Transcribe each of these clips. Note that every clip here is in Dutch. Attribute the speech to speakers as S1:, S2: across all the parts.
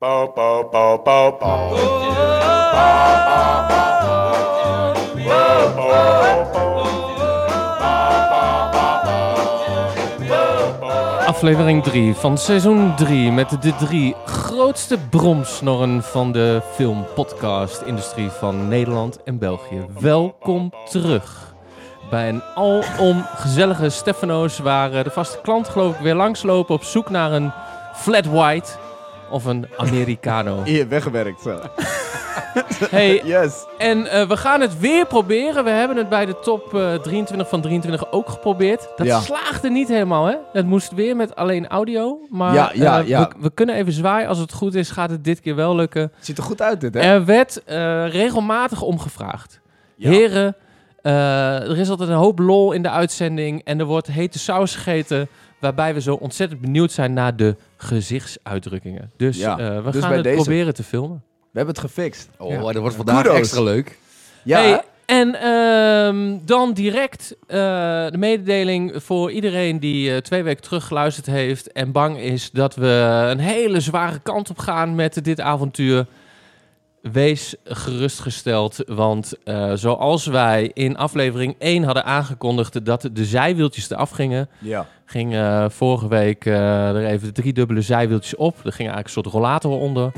S1: Bo, bo, bo, bo, bo.
S2: Aflevering 3 van seizoen 3 met de drie grootste bromsnorren van de film-podcast-industrie van Nederland en België. Welkom terug bij een alom gezellige Stefano's waar eh, de vaste klant geloof ik weer langslopen op zoek naar een flat white of een Americano.
S3: Hier, weggewerkt zo.
S2: Hey,
S3: Yes.
S2: En eh, we gaan het weer proberen. We hebben het bij de top eh, 23 van 23 ook geprobeerd. Dat
S3: Ja.
S2: slaagde niet helemaal, hè? Het moest weer met alleen audio. Maar
S3: Ja, ja,
S2: eh,
S3: ja.
S2: We, we kunnen even zwaaien. Als het goed is, gaat het dit keer wel lukken.
S3: Ziet er goed uit dit, hè?
S2: Er werd eh, regelmatig omgevraagd.
S3: Ja.
S2: Heren, eh, er is altijd een hoop lol in de uitzending. En er wordt hete saus gegeten. Waarbij we zo ontzettend benieuwd zijn naar de gezichtsuitdrukkingen. Dus
S3: Ja.
S2: eh, we
S3: Dus
S2: gaan
S3: bij
S2: het
S3: deze.
S2: proberen te filmen.
S3: We hebben het gefixt.
S4: Oh,
S2: Ja.
S4: dat wordt vandaag
S3: Kudos.
S4: extra leuk.
S3: Ja.
S2: Hey, en ehm, dan direct eh, de mededeling voor iedereen die eh, twee weken terug geluisterd heeft en bang is dat we een hele zware kant op gaan met dit avontuur. Wees gerustgesteld, want eh, zoals wij in aflevering 1 hadden aangekondigd dat de zijwieltjes eraf gingen,
S3: Ja.
S2: ging eh, vorige week eh, er even drie dubbele zijwieltjes op. Er ging eigenlijk een soort rollator onder.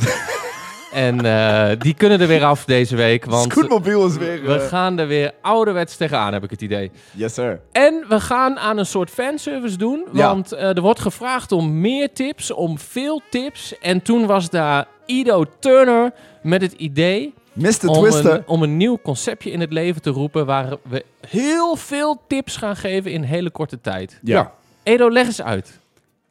S2: en eh, die kunnen er weer af deze week, want
S3: Scootmobiel is weer...
S2: we
S3: eh,
S2: gaan er weer ouderwets tegenaan, heb ik het idee.
S3: Yes, sir.
S2: En we gaan aan een soort fanservice doen.
S3: Ja.
S2: Want eh, er wordt gevraagd om meer tips, om veel tips. En toen was daar Ido Turner met het idee
S3: Mr.
S2: om
S3: Twister.
S2: een, om een nieuw conceptje in het leven te roepen. Waar we heel veel tips gaan geven in hele korte tijd.
S3: Ja.
S2: Edo, leg eens uit.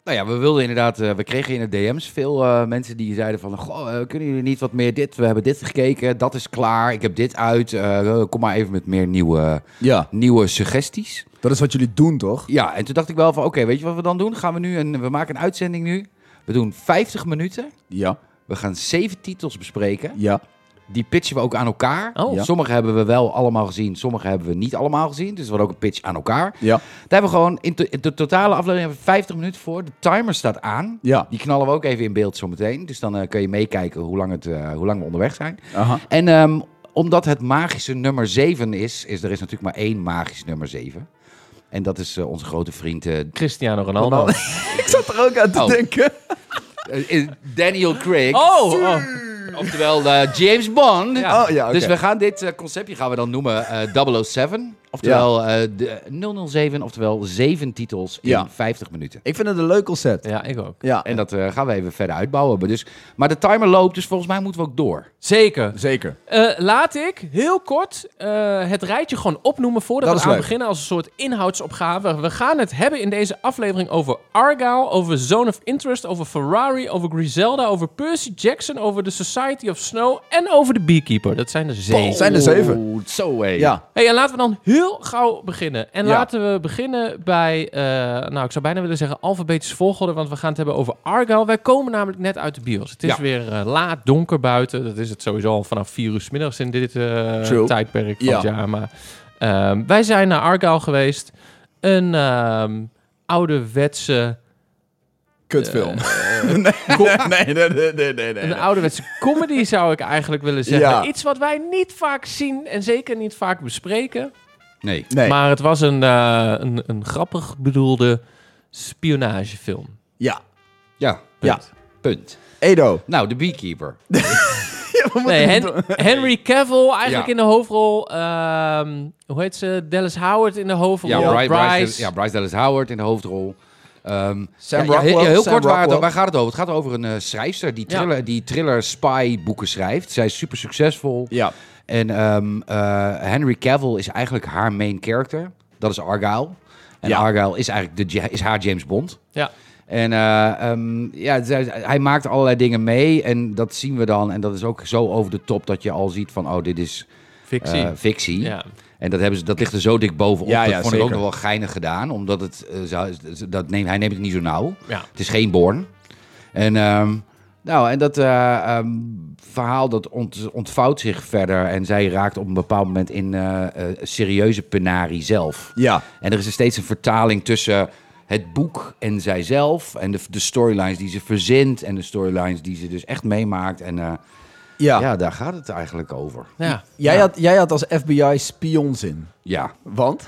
S4: Nou ja, we wilden inderdaad, eh, we kregen in de DM's veel eh, mensen die zeiden van, goh, eh, kunnen jullie niet wat meer dit? We hebben dit gekeken, dat is klaar, ik heb dit uit. eh, kom maar even met meer nieuwe,
S3: Ja.
S4: nieuwe suggesties.
S3: Dat is wat jullie doen, toch?
S4: Ja, en toen dacht ik wel van, oké, weet je wat we dan doen? Gaan we nu een, we maken een uitzending nu. We doen 50 minuten.
S3: Ja.
S4: We gaan zeven titels bespreken.
S3: Ja.
S4: Die pitchen we ook aan elkaar.
S2: Oh. Ja.
S4: Sommige hebben we wel allemaal gezien, sommige hebben we niet allemaal gezien. Dus we hadden ook een pitch aan elkaar.
S3: Ja.
S4: Daar hebben we gewoon in, to- in de totale aflevering hebben we 50 minuten voor. De timer staat aan.
S3: Ja.
S4: Die knallen we ook even in beeld zometeen. Dus dan eh, kun je meekijken hoe lang, het, eh, hoe lang we onderweg zijn.
S3: Aha.
S4: En ehm, omdat het magische nummer 7 is, is er is natuurlijk maar één magisch nummer 7. En dat is eh, onze grote vriend eh,
S2: Cristiano Ronaldo.
S3: Ik zat er ook aan te
S4: Oh.
S3: denken.
S4: eh, eh, Daniel Craig.
S2: Oh, oh.
S4: Oftewel eh, James Bond.
S2: Ja.
S3: Oh, ja, oké.
S4: Dus we gaan dit eh, conceptje gaan we dan noemen eh 007. Oftewel eh, de 007, oftewel 7 titels in
S3: Ja.
S4: 50 minuten.
S3: Ik vind het een leuk concept.
S2: Ja, ik ook.
S3: Ja.
S4: En dat eh, gaan we even verder uitbouwen. Maar Dus, maar de timer loopt, dus volgens mij moeten we ook door.
S2: Zeker.
S3: Zeker.
S2: Eh, laat ik heel kort eh, het rijtje gewoon opnoemen voordat
S3: Dat
S2: we
S3: is
S2: aan
S3: leuk.
S2: beginnen als een soort inhoudsopgave. We gaan het hebben in deze aflevering over Argyle, over Zone of Interest, over Ferrari, over Griselda, over Percy Jackson, over The Society of Snow en over The Beekeeper. Dat zijn er zeven.
S3: Zijn er zeven.
S4: Oeh, Oh, Zo hé.
S3: Ja.
S2: Hey, en laten we dan heel gauw beginnen. En
S3: Ja.
S2: laten we beginnen bij, eh, nou ik zou bijna willen zeggen alfabetische volgorde, want we gaan het hebben over Argyle. Wij komen namelijk net uit de bios. Het is
S4: Ja.
S2: weer eh, laat donker buiten. Dat is het sowieso al vanaf 4 uur 's middags in dit eh,
S3: True.
S2: tijdperk van
S3: Ja.
S2: het jaar. Maar ehm, wij zijn naar Argyle geweest. Een ehm, ouderwetse,
S3: Kutfilm. nee, nee, nee, nee, nee, nee.
S2: een ouderwetse comedy zou ik eigenlijk willen zeggen.
S3: Ja.
S2: Iets wat wij niet vaak zien en zeker niet vaak bespreken.
S4: Nee.
S3: Nee.
S2: Maar het was een, eh, een, een grappig bedoelde spionagefilm.
S3: Ja.
S4: Ja,
S3: Ja.
S4: punt.
S3: Edo.
S4: Nou, de Beekeeper.
S2: Nee, Hen- Henry Cavill eigenlijk
S4: Ja.
S2: in de hoofdrol. ehm, hoe heet ze? Dallas Howard in de hoofdrol.
S4: Ja, Bryce,
S2: Bryce.
S4: Bryce- ja, Bryce Dallas Howard in de hoofdrol. Ehm,
S3: Sam
S4: ja, ja, heel-
S3: Rockwell,
S4: heel
S3: Sam
S4: kort, waar, het-
S3: Rockwell.
S4: waar gaat het over? Het gaat over een eh, schrijfster die
S2: Ja.
S4: thriller, die thriller spy boeken schrijft. Zij is super succesvol.
S3: Ja.
S4: En ehm, eh, Henry Cavill is eigenlijk haar main character. Dat is Argyle. En
S3: Ja.
S4: Argyle is eigenlijk de, Ja- is haar James Bond.
S2: Ja.
S4: En eh, ehm, ja, zij- hij maakt allerlei dingen mee. En dat zien we dan. En dat is ook zo over de top dat je al ziet van... oh, dit is eh,
S2: fictie.
S4: fictie.
S2: ja.
S4: En dat, hebben ze, dat ligt er zo dik bovenop.
S3: Ja,
S4: dat
S3: ja,
S4: vond ik
S3: zeker.
S4: ook nog wel geinig gedaan. Omdat het, eh, zou- dat neemt, hij neemt het niet zo nauw.
S2: Ja.
S4: Het is geen Born. En, ehm, nou, en dat eh, ehm, verhaal dat ont, ontvouwt zich verder. En zij raakt op een bepaald moment in eh, eh, serieuze penarie zelf.
S3: Ja.
S4: En er is er steeds een vertaling tussen het boek en zijzelf. En de, de storylines die ze verzint. En de storylines die ze dus echt meemaakt. En eh, ja.
S3: Ja.
S4: daar gaat het eigenlijk over.
S2: Ja.
S3: Jij, Had, jij had als FBI spionzin.
S4: Ja,
S3: Want?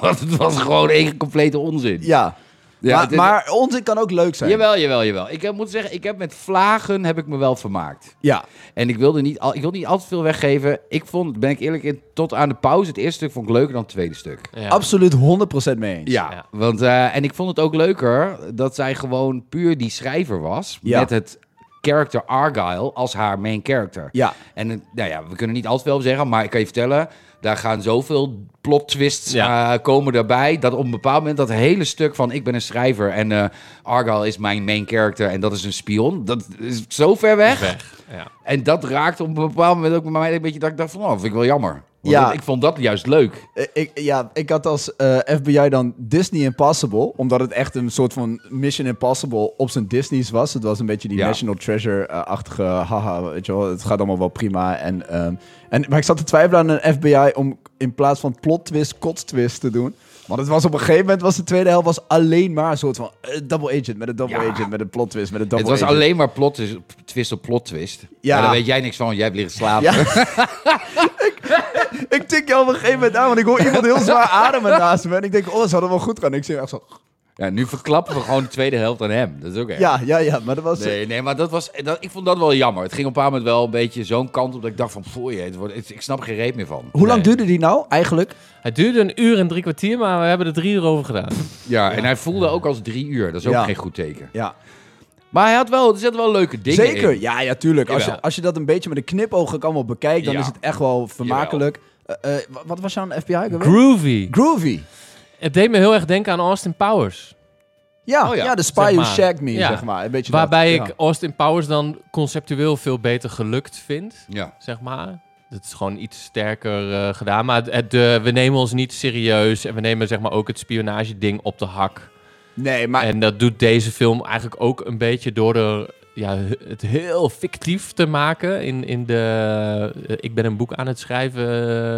S4: want het was gewoon één complete onzin.
S3: Ja.
S4: Ja,
S3: maar,
S4: het is-
S3: maar onzin kan ook leuk zijn.
S4: Jawel, jawel, jawel. Ik heb, moet zeggen, ik heb met vlagen heb ik me wel vermaakt.
S3: Ja.
S4: En ik wilde niet, al, ik wilde niet al te veel weggeven. Ik vond, ben ik eerlijk in, tot aan de pauze, het eerste stuk vond ik leuker dan het tweede stuk.
S2: Ja.
S3: Absoluut 100% mee eens.
S4: Ja,
S2: Ja.
S4: want, eh, en ik vond het ook leuker dat zij gewoon puur die schrijver was.
S3: Ja.
S4: Met het character Argyle als haar main character.
S3: Ja.
S4: En eh, nou ja, we kunnen niet altijd wel zeggen, maar ik kan je vertellen, daar gaan zoveel plot twists
S2: Ja.
S4: eh, komen daarbij. Dat op een bepaald moment dat hele stuk van ik ben een schrijver en eh Argyle is mijn main character en dat is een spion. Dat is zo ver weg.
S2: Weg. Ja.
S4: En dat raakt op een bepaald moment ook bij mij een beetje dat ik dacht van, oh, vind ik wel jammer. Want
S3: Ja.
S4: dat- ik vond dat juist leuk.
S3: Eh, Ik, ja, ik had als eh, FBI dan Disney Impossible, omdat het echt een soort van Mission Impossible op zijn Disney's was. Het was een beetje die
S4: Ja.
S3: National Treasure-achtige, eh, haha, weet je wel, het gaat allemaal wel prima. En, ehm, en, maar ik zat te twijfelen aan een FBI om in plaats van plot twist, kot twist te doen. Want het was op een gegeven moment, was de tweede helft was alleen maar een soort van eh, double agent, met een double
S4: Ja.
S3: agent, met een plot twist, met een
S4: het
S3: double
S4: was
S3: agent.
S4: alleen maar plot twist- twist op plot twist.
S3: Ja.
S4: Maar daar weet jij niks van, want jij hebt liggen slapen.
S3: Ja. Ik tik jou op een gegeven moment aan, want ik hoor iemand heel zwaar ademen naast me. En ik denk, oh, ze hadden wel goed gaan. En ik zie hem echt zo...
S4: Ja, nu verklappen we gewoon de tweede helft aan hem. Dat is ook echt.
S3: Ja, ja, ja, maar dat was...
S4: Nee, nee, maar dat was, dat, ik vond dat wel jammer. Het ging op een bepaald moment wel een beetje zo'n kant op dat ik dacht van, voor je, het wordt, het- ik snap geen reet meer van.
S3: Hoe lang
S2: Nee.
S3: duurde die nou eigenlijk?
S2: Het duurde een uur en drie kwartier, maar we hebben er drie uur over gedaan.
S4: Ja, en hij voelde ook als drie uur. Dat is ook
S3: Ja.
S4: geen goed teken.
S3: Ja,
S4: Maar hij had wel, er zaten wel leuke dingen
S3: zeker.
S4: in.
S3: Ja, ja, tuurlijk. Als
S4: Jawel.
S3: je, als je dat een beetje met een knipoog ook allemaal bekijkt, dan
S4: Ja.
S3: is het echt wel vermakelijk. Eh, eh, wa- wat was jouw FBI? ook alweer?
S2: Groovy.
S3: Groovy.
S2: Het deed me heel erg denken aan Austin Powers.
S3: Ja,
S4: Oh ja,
S3: ja, de spy
S2: zeg
S3: who
S2: maar.
S3: shagged me,
S2: Ja.
S3: zeg maar. Een beetje
S2: Waarbij
S3: dat.
S2: ik Austin Powers dan conceptueel veel beter gelukt vind,
S4: Ja.
S2: zeg maar. Het is gewoon iets sterker eh, gedaan. Maar het, het, eh, we nemen ons niet serieus. En we nemen zeg maar ook het spionageding op de hak.
S3: Ja. Nee, maar...
S2: En dat doet deze film eigenlijk ook een beetje door er, ja, het heel fictief te maken. In, in de eh, ik ben een boek aan het schrijven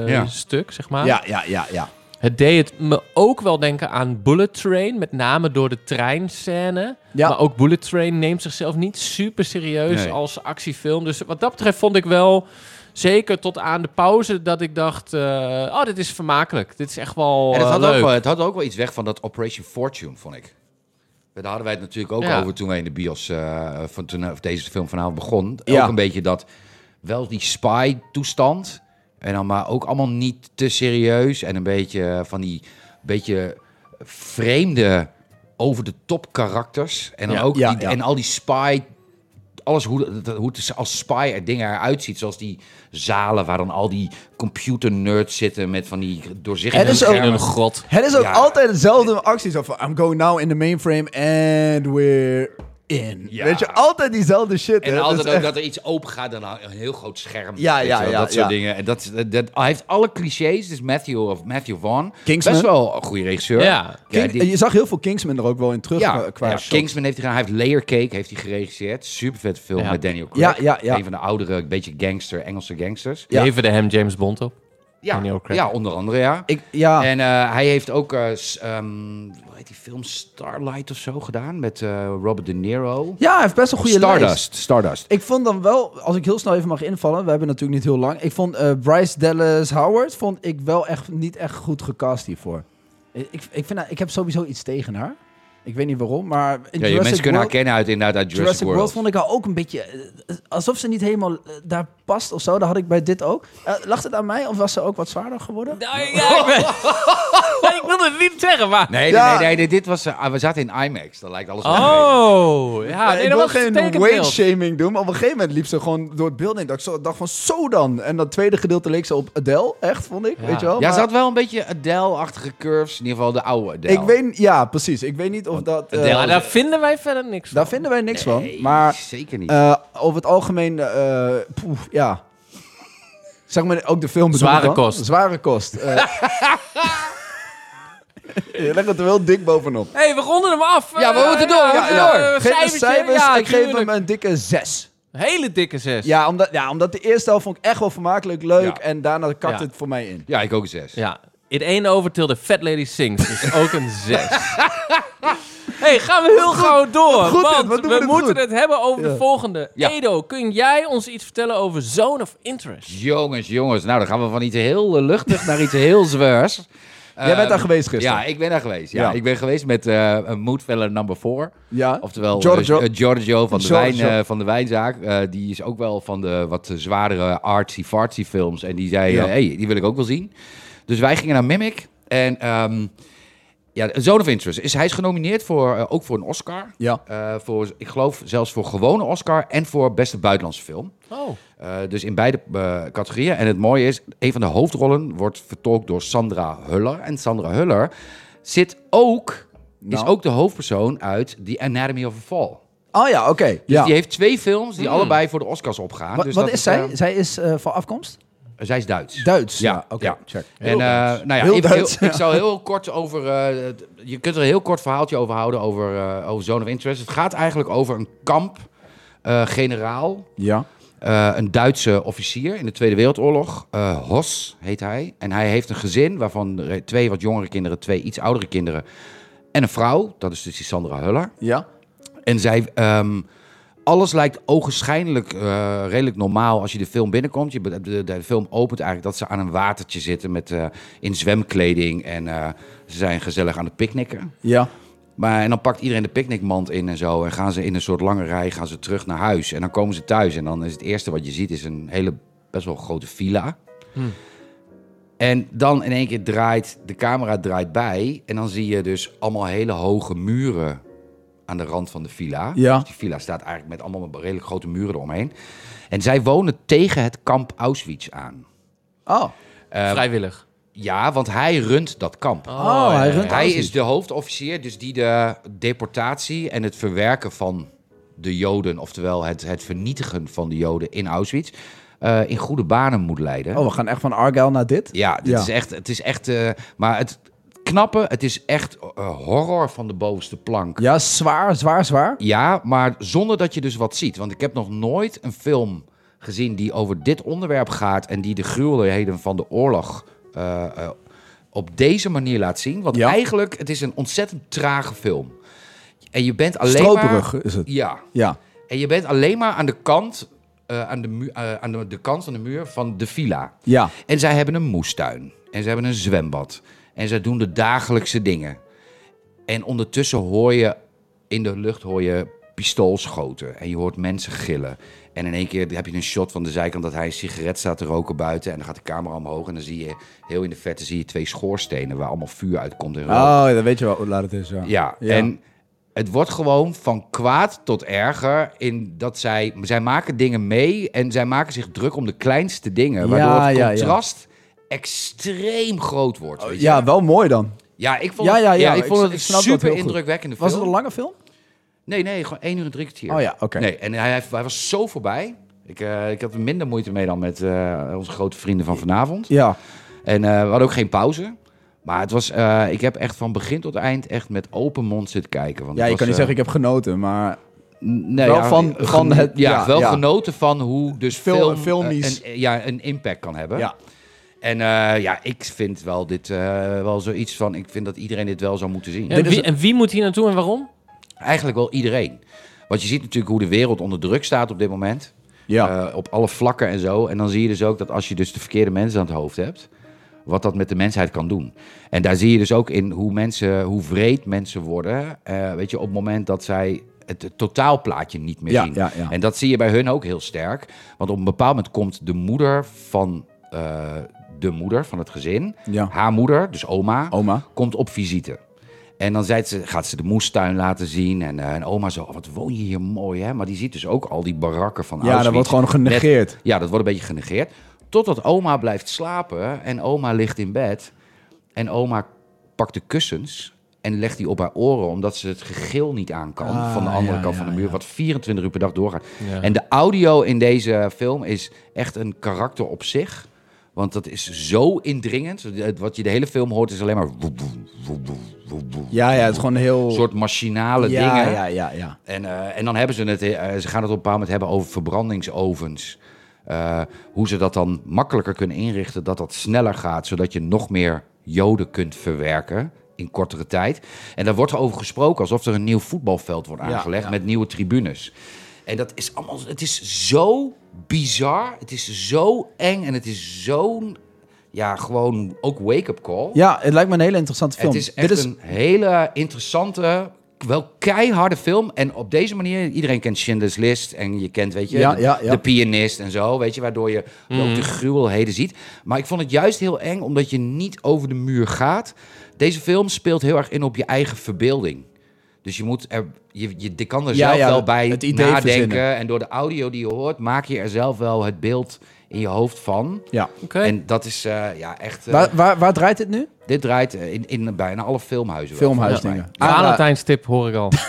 S2: eh,
S4: Ja.
S2: stuk, zeg maar.
S3: Ja, ja, ja, ja.
S2: Het deed het me ook wel denken aan Bullet Train, met name door de treinscène.
S3: Ja.
S2: Maar ook Bullet Train neemt zichzelf niet super serieus
S4: Nee.
S2: als actiefilm. Dus wat dat betreft vond ik wel, zeker tot aan de pauze, dat ik dacht... eh, oh, dit is vermakelijk. Dit is echt wel
S4: En het
S2: eh,
S4: had,
S2: leuk.
S4: ook wel, het had ook wel iets weg van dat Operation Fortune, vond ik. Daar hadden wij het natuurlijk ook
S2: Ja.
S4: over toen wij in de bios eh, van toen eh, deze film vanavond begon.
S3: Ja.
S4: Ook een beetje dat wel die spy toestand. En dan maar ook allemaal niet te serieus. En een beetje van die beetje vreemde over de top karakters. En dan
S2: Ja,
S4: ook
S3: ja,
S4: die,
S3: ja.
S4: en al die spy alles hoe, dat- hoe het als spy er dingen eruit ziet. Zoals die zalen waar dan al die computer nerds zitten met van die doorzichtige
S3: Er is ook-
S2: In
S4: schermen.
S2: een grot.
S3: Het is ook
S4: Ja.
S3: altijd dezelfde actie. Zo van, I'm going now in the mainframe and we're in.
S4: Ja.
S3: Weet je, altijd diezelfde shit. hè.
S4: En
S3: Dat
S4: altijd
S3: is
S4: ook
S3: echt-
S4: dat er iets open gaat en dan een heel groot scherm.
S3: Ja,
S4: Weet
S3: ja,
S4: je wel,
S3: ja,
S4: Dat soort
S3: ja.
S4: dingen. En dat, dat, dat- hij heeft alle clichés. Dus Matthew, of Matthew Vaughn.
S3: Kingsman.
S4: Best wel een goede regisseur.
S2: Ja.
S3: King-
S4: die-
S3: Je zag heel veel Kingsman er ook wel in terug
S4: ja,
S3: eh, qua
S4: ja,
S3: shots.
S4: Kingsman heeft hij gedaan. Hij heeft Layer Cake heeft hij geregisseerd. Super vet film
S2: Ja.
S4: met Daniel Craig.
S3: Ja, ja, ja.
S4: Een van de oudere, een beetje gangster, Engelse gangsters.
S3: Ja.
S2: Leverde hem James Bond op. Daniel Craig.
S4: ja onder andere, ja.
S3: Ik, ja.
S4: En eh, hij heeft ook, eh, s- ehm, hoe heet die film, Starlight of zo gedaan met eh, Robert De Niro.
S3: ja, hij heeft best een goede
S4: Stardust,
S3: lijst.
S4: Stardust.
S3: Ik vond dan wel, als ik heel snel even mag invallen, we hebben natuurlijk niet heel lang. Ik vond eh, Bryce Dallas Howard vond ik wel echt niet echt goed gecast hiervoor. Ik, ik, ik vind, haar- ik heb sowieso iets tegen haar. Ik weet niet waarom, maar in
S4: Ja, je
S3: Jurassic,
S4: mensen kunnen
S3: World,
S4: herkennen uit inderdaad uit
S3: Jurassic, World.
S4: World.
S3: vond ik haar ook een beetje, eh, alsof ze niet helemaal eh, daar past of zo. Dat had ik bij dit ook. Eh, lag het aan mij of was ze ook wat zwaarder geworden?
S2: Nou, ja, ik, ben- Nee, ik wilde het niet zeggen, maar...
S4: Nee,
S3: Ja.
S4: nee, nee, nee, nee, dit was, eh, we zaten in IMAX. Dan lijkt alles wel
S2: Oh, ja. Nee,
S3: ik
S2: dat
S3: wil
S2: was geen
S3: geen
S2: tekenbeeld.
S3: weight-shaming doen, maar op een gegeven moment liep ze gewoon door het beeld heen. Dat ik zo- dacht van, zo dan. En dat tweede gedeelte leek ze op Adele, echt, vond ik.
S2: Ja.
S3: Weet je wel?
S4: mee. Ja,
S3: Maar-
S4: ze had wel een beetje Adele-achtige curves. In ieder geval de oude Adele.
S3: Ik weet, ja, precies. Ik weet niet of dat. eh,
S4: Adele-
S2: Maar daar vinden wij verder niks van.
S3: daar vinden wij niks
S4: Nee,
S3: van. Maar
S4: zeker niet.
S3: eh, over het algemeen, eh, poef, ja. Zeg maar ook de film. bedoel
S2: Zware
S3: ik dan.
S2: kost.
S3: Zware kost. eh. Je legt het er wel dik bovenop.
S2: Hé, hey, we ronden hem af.
S4: Ja, we
S2: Eh,
S4: moeten door, we moeten
S2: ja,
S4: door.
S2: eh,
S3: Geef me
S2: cijfertje.
S3: cijfers.
S2: Ja,
S3: ik geef hem
S2: tuurlijk.
S3: een dikke 6.
S2: Hele dikke zes.
S3: Ja omdat, ja, omdat de eerste helft vond ik echt wel vermakelijk leuk.
S4: Ja.
S3: En daarna kakt
S2: Ja.
S3: het voor mij in.
S4: ja, ik ook zes.
S2: Ja. In één over till de Fat Lady Sings. Dus ook een zes. hey, gaan we heel gauw door.
S3: goed dit,
S2: want
S3: wat doen we
S2: we
S3: dit
S2: moeten
S3: goed.
S2: het hebben over de
S3: Ja.
S2: volgende.
S4: Ja.
S2: Edo, kun jij ons iets vertellen over Zone of Interest?
S4: Jongens, jongens. Nou, dan gaan we van iets heel eh, luchtig naar iets heel zwaars.
S3: Jij bent
S4: Eh,
S3: daar geweest gisteren.
S4: Ja, ik ben daar geweest. Ja,
S3: Ja.
S4: Ik ben geweest met eh een Moodfeller number 4.
S3: Ja?
S4: Oftewel eh,
S3: Giorgio.
S4: eh, Giorgio van de, wijn,
S3: Giorgio.
S4: eh, van de wijnzaak. Eh, die is ook wel van de wat zwaardere artsy-fartsy films. En die zei,
S3: Ja.
S4: eh, hey, die wil ik ook wel zien. Dus wij gingen naar Mimic. En ehm ja, Zone of Interest. Is, hij is genomineerd voor, eh, ook voor een Oscar.
S3: Ja.
S4: Eh, voor, ik geloof zelfs voor gewone Oscar en voor beste buitenlandse film.
S2: Oh.
S4: Eh, dus in beide eh, categorieën. En het mooie is, een van de hoofdrollen wordt vertolkt door Sandra Huller. En Sandra Huller zit ook, is
S3: Nou.
S4: ook de hoofdpersoon uit The Anatomy of a Fall.
S3: Oh ja, oké.
S4: Dus
S3: Ja.
S4: die heeft twee films die allebei voor de Oscars opgaan.
S3: Wat,
S4: dus
S3: wat
S4: dat
S3: is zij?
S4: eh,
S3: zij is eh, van afkomst?
S4: zij is Duits.
S3: Duits.
S4: Ja,
S3: Ja, oké.
S4: ja.
S3: Check.
S4: En eh, nou ja,
S3: Heel
S4: ik,
S3: Duits,
S4: heel- ik zal heel kort over. eh, het- je kunt er een heel kort verhaaltje over houden over, eh, over Zone of Interest. Het gaat eigenlijk over een kamp. eh, generaal,
S3: Ja.
S4: eh, een Duitse officier in de Tweede Wereldoorlog. eh Hos heet hij. En hij heeft een gezin waarvan er twee wat jongere kinderen, twee iets oudere kinderen. En een vrouw, dat is dus die Sandra Huller.
S3: Ja.
S4: En zij. ehm, alles lijkt ogenschijnlijk eh, redelijk normaal als je de film binnenkomt. Je, be- de, de film opent eigenlijk dat ze aan een watertje zitten met, eh, in zwemkleding. En eh, ze zijn gezellig aan het picknicken.
S3: Ja.
S4: Maar en dan pakt iedereen de picknickmand in en zo. En gaan ze in een soort lange rij gaan ze terug naar huis. En dan komen ze thuis. En dan is het eerste wat je ziet is een hele best wel grote villa. En dan in één keer draait de camera draait bij. En dan zie je dus allemaal hele hoge muren aan de rand van de villa.
S3: Ja.
S4: Dus die villa staat eigenlijk met allemaal redelijk grote muren eromheen. En zij wonen tegen het kamp Auschwitz aan.
S3: Oh.
S4: Eh,
S2: Vrijwillig.
S4: ja, want hij runt dat kamp.
S3: Oh, hij
S2: ja,
S3: runt
S2: ja.
S4: Hij
S3: Auschwitz.
S4: is de hoofdofficier, dus die de deportatie en het verwerken van de Joden, oftewel het, het vernietigen van de Joden in Auschwitz, eh, in goede banen moet leiden.
S3: Oh, we gaan echt van Argyle naar dit?
S4: Ja, dit
S3: Ja.
S4: Is echt, het is echt. eh, maar het knappe, het is echt eh, horror van de bovenste plank.
S3: Ja, zwaar, zwaar, zwaar.
S4: Ja, maar zonder dat je dus wat ziet. Want ik heb nog nooit een film gezien die over dit onderwerp gaat en die de gruwelijkheden van de oorlog eh, eh, op deze manier laat zien. Want
S3: Ja.
S4: eigenlijk, het is een ontzettend trage film. En je bent alleen
S3: Stroperig
S4: maar...
S3: is het.
S4: Ja.
S3: Ja.
S4: En je bent alleen maar aan de kant, eh, aan, de mu- eh, aan de, de kant van de muur van de villa.
S3: Ja.
S4: En zij hebben een moestuin. En ze hebben een zwembad. En zij doen de dagelijkse dingen. En ondertussen hoor je in de lucht hoor je pistoolschoten. En je hoort mensen gillen. En in één keer heb je een shot van de zijkant dat hij een sigaret staat te roken buiten. En dan gaat de camera omhoog. En dan zie je heel in de verte zie je twee schoorstenen waar allemaal vuur uitkomt. En rook.
S3: Oh, dan weet je wel hoe laat het is, ja.
S4: Ja, en het wordt gewoon van kwaad tot erger in dat zij... Zij maken dingen mee en zij maken zich druk om de kleinste dingen.
S3: Ja,
S4: Waardoor het
S3: ja, ja.
S4: contrast extreem groot wordt. weet je.
S3: ja, wel mooi dan.
S4: ja, ik vond
S3: Ja,
S4: het,
S3: ja, ja,
S4: ik
S3: ik
S4: vond
S3: s-
S4: het
S3: ik
S4: een
S3: snap dat
S4: super
S3: heel goed.
S4: indrukwekkende
S3: Was het
S4: film.
S3: een lange film?
S4: Nee, nee, gewoon 1 uur en drie kwartier.
S3: Oh ja, oké.
S4: Nee, en hij, hij was zo voorbij. Ik, eh, ik had er minder moeite mee dan met eh, onze grote vrienden van vanavond.
S3: Ja.
S4: En eh, we hadden ook geen pauze. Maar het was, eh, ik heb echt van begin tot eind echt met open mond zitten kijken. Want
S3: Ja,
S4: het
S3: je
S4: was,
S3: kan niet
S4: eh,
S3: zeggen ik heb genoten, maar...
S4: N- nee, eh,
S3: Wel van-
S4: geno-
S3: van het-
S4: ja,
S3: ja,
S4: wel
S3: ja.
S4: genoten van hoe dus
S3: Film-
S4: film,
S3: filmisch.
S4: eh, een, ja, een impact kan hebben.
S3: Ja.
S4: En eh, ja, ik vind wel dit eh, wel zoiets van. Ik vind dat iedereen dit wel zou moeten zien.
S2: En
S3: Dit is
S2: dus wie, en wie moet hier naartoe en waarom?
S4: Eigenlijk wel iedereen. Want je ziet natuurlijk hoe de wereld onder druk staat op dit moment.
S3: Ja.
S4: Eh, op alle vlakken en zo. En dan zie je dus ook dat als je dus de verkeerde mensen aan het hoofd hebt, wat dat met de mensheid kan doen. En daar zie je dus ook in hoe mensen, hoe vreed mensen worden. eh, weet je, op het moment dat zij het, het totaalplaatje niet meer
S3: Ja,
S4: zien.
S3: ja, ja.
S4: En dat zie je bij hun ook heel sterk. Want op een bepaald moment komt de moeder van eh, de moeder van het gezin,
S3: Ja.
S4: haar moeder, dus oma,
S3: Oma.
S4: komt op visite. En dan zei ze, gaat ze de moestuin laten zien. En, eh, en oma zo, "Oh, wat woon je hier mooi, hè? Maar die ziet dus ook al die barakken van
S3: Ja, dat
S4: Auschwitz.
S3: wordt gewoon genegeerd.
S4: Ja, dat wordt een beetje genegeerd. Totdat oma blijft slapen en oma ligt in bed. En oma pakt de kussens en legt die op haar oren... omdat ze het gegil niet aan kan
S3: Ah,
S4: van de andere
S3: ja,
S4: kant van de muur... wat 24 uur per dag doorgaat.
S2: Ja.
S4: En de audio in deze film is echt een karakter op zich... Want dat is zo indringend. Het- Wat je de hele film hoort is alleen maar... woep, woep, woep, woep, woep, woep.
S3: Ja, ja, het is gewoon heel...
S4: Een soort machinale
S3: ja,
S4: dingen.
S3: Ja, ja, ja.
S4: En, eh, en dan hebben ze het, eh, ze gaan het op een bepaald moment hebben over verbrandingsovens. Eh, hoe ze dat dan makkelijker kunnen inrichten, dat dat sneller gaat, zodat je nog meer Joden kunt verwerken in kortere tijd. En daar wordt over gesproken alsof er een nieuw voetbalveld wordt
S3: Ja,
S4: aangelegd
S3: ja.
S4: met nieuwe tribunes. En dat is allemaal, het is zo bizar, het is zo eng en het is zo'n, ja, gewoon ook wake-up call.
S3: Ja, het lijkt me een hele interessante film.
S4: Het is echt
S3: Dit is
S4: een hele interessante, wel keiharde film. En op deze manier, iedereen kent Schindler's List en je kent, weet je,
S3: Ja,
S4: de,
S3: ja, ja.
S4: de pianist en zo, weet je, waardoor je ook de gruwelheden ziet. Maar ik vond het juist heel eng, omdat je niet over de muur gaat. Deze film speelt heel erg in op je eigen verbeelding. Dus je moet er, je, je, je kan er
S3: Ja,
S4: zelf
S3: ja,
S4: wel bij
S3: het idee
S4: nadenken.
S3: verzinnen.
S4: En door de audio die je hoort, maak je er zelf wel het beeld in je hoofd van.
S3: ja.
S2: Oké.
S4: En dat is eh, ja, echt. eh,
S3: Waar, waar, waar draait dit nu?
S4: dit draait eh, in, in bijna alle filmhuizen. wel,
S3: Filmhuisdingen. Ah,
S4: volgens
S2: Valentijnstip hoor ik al.
S4: mij.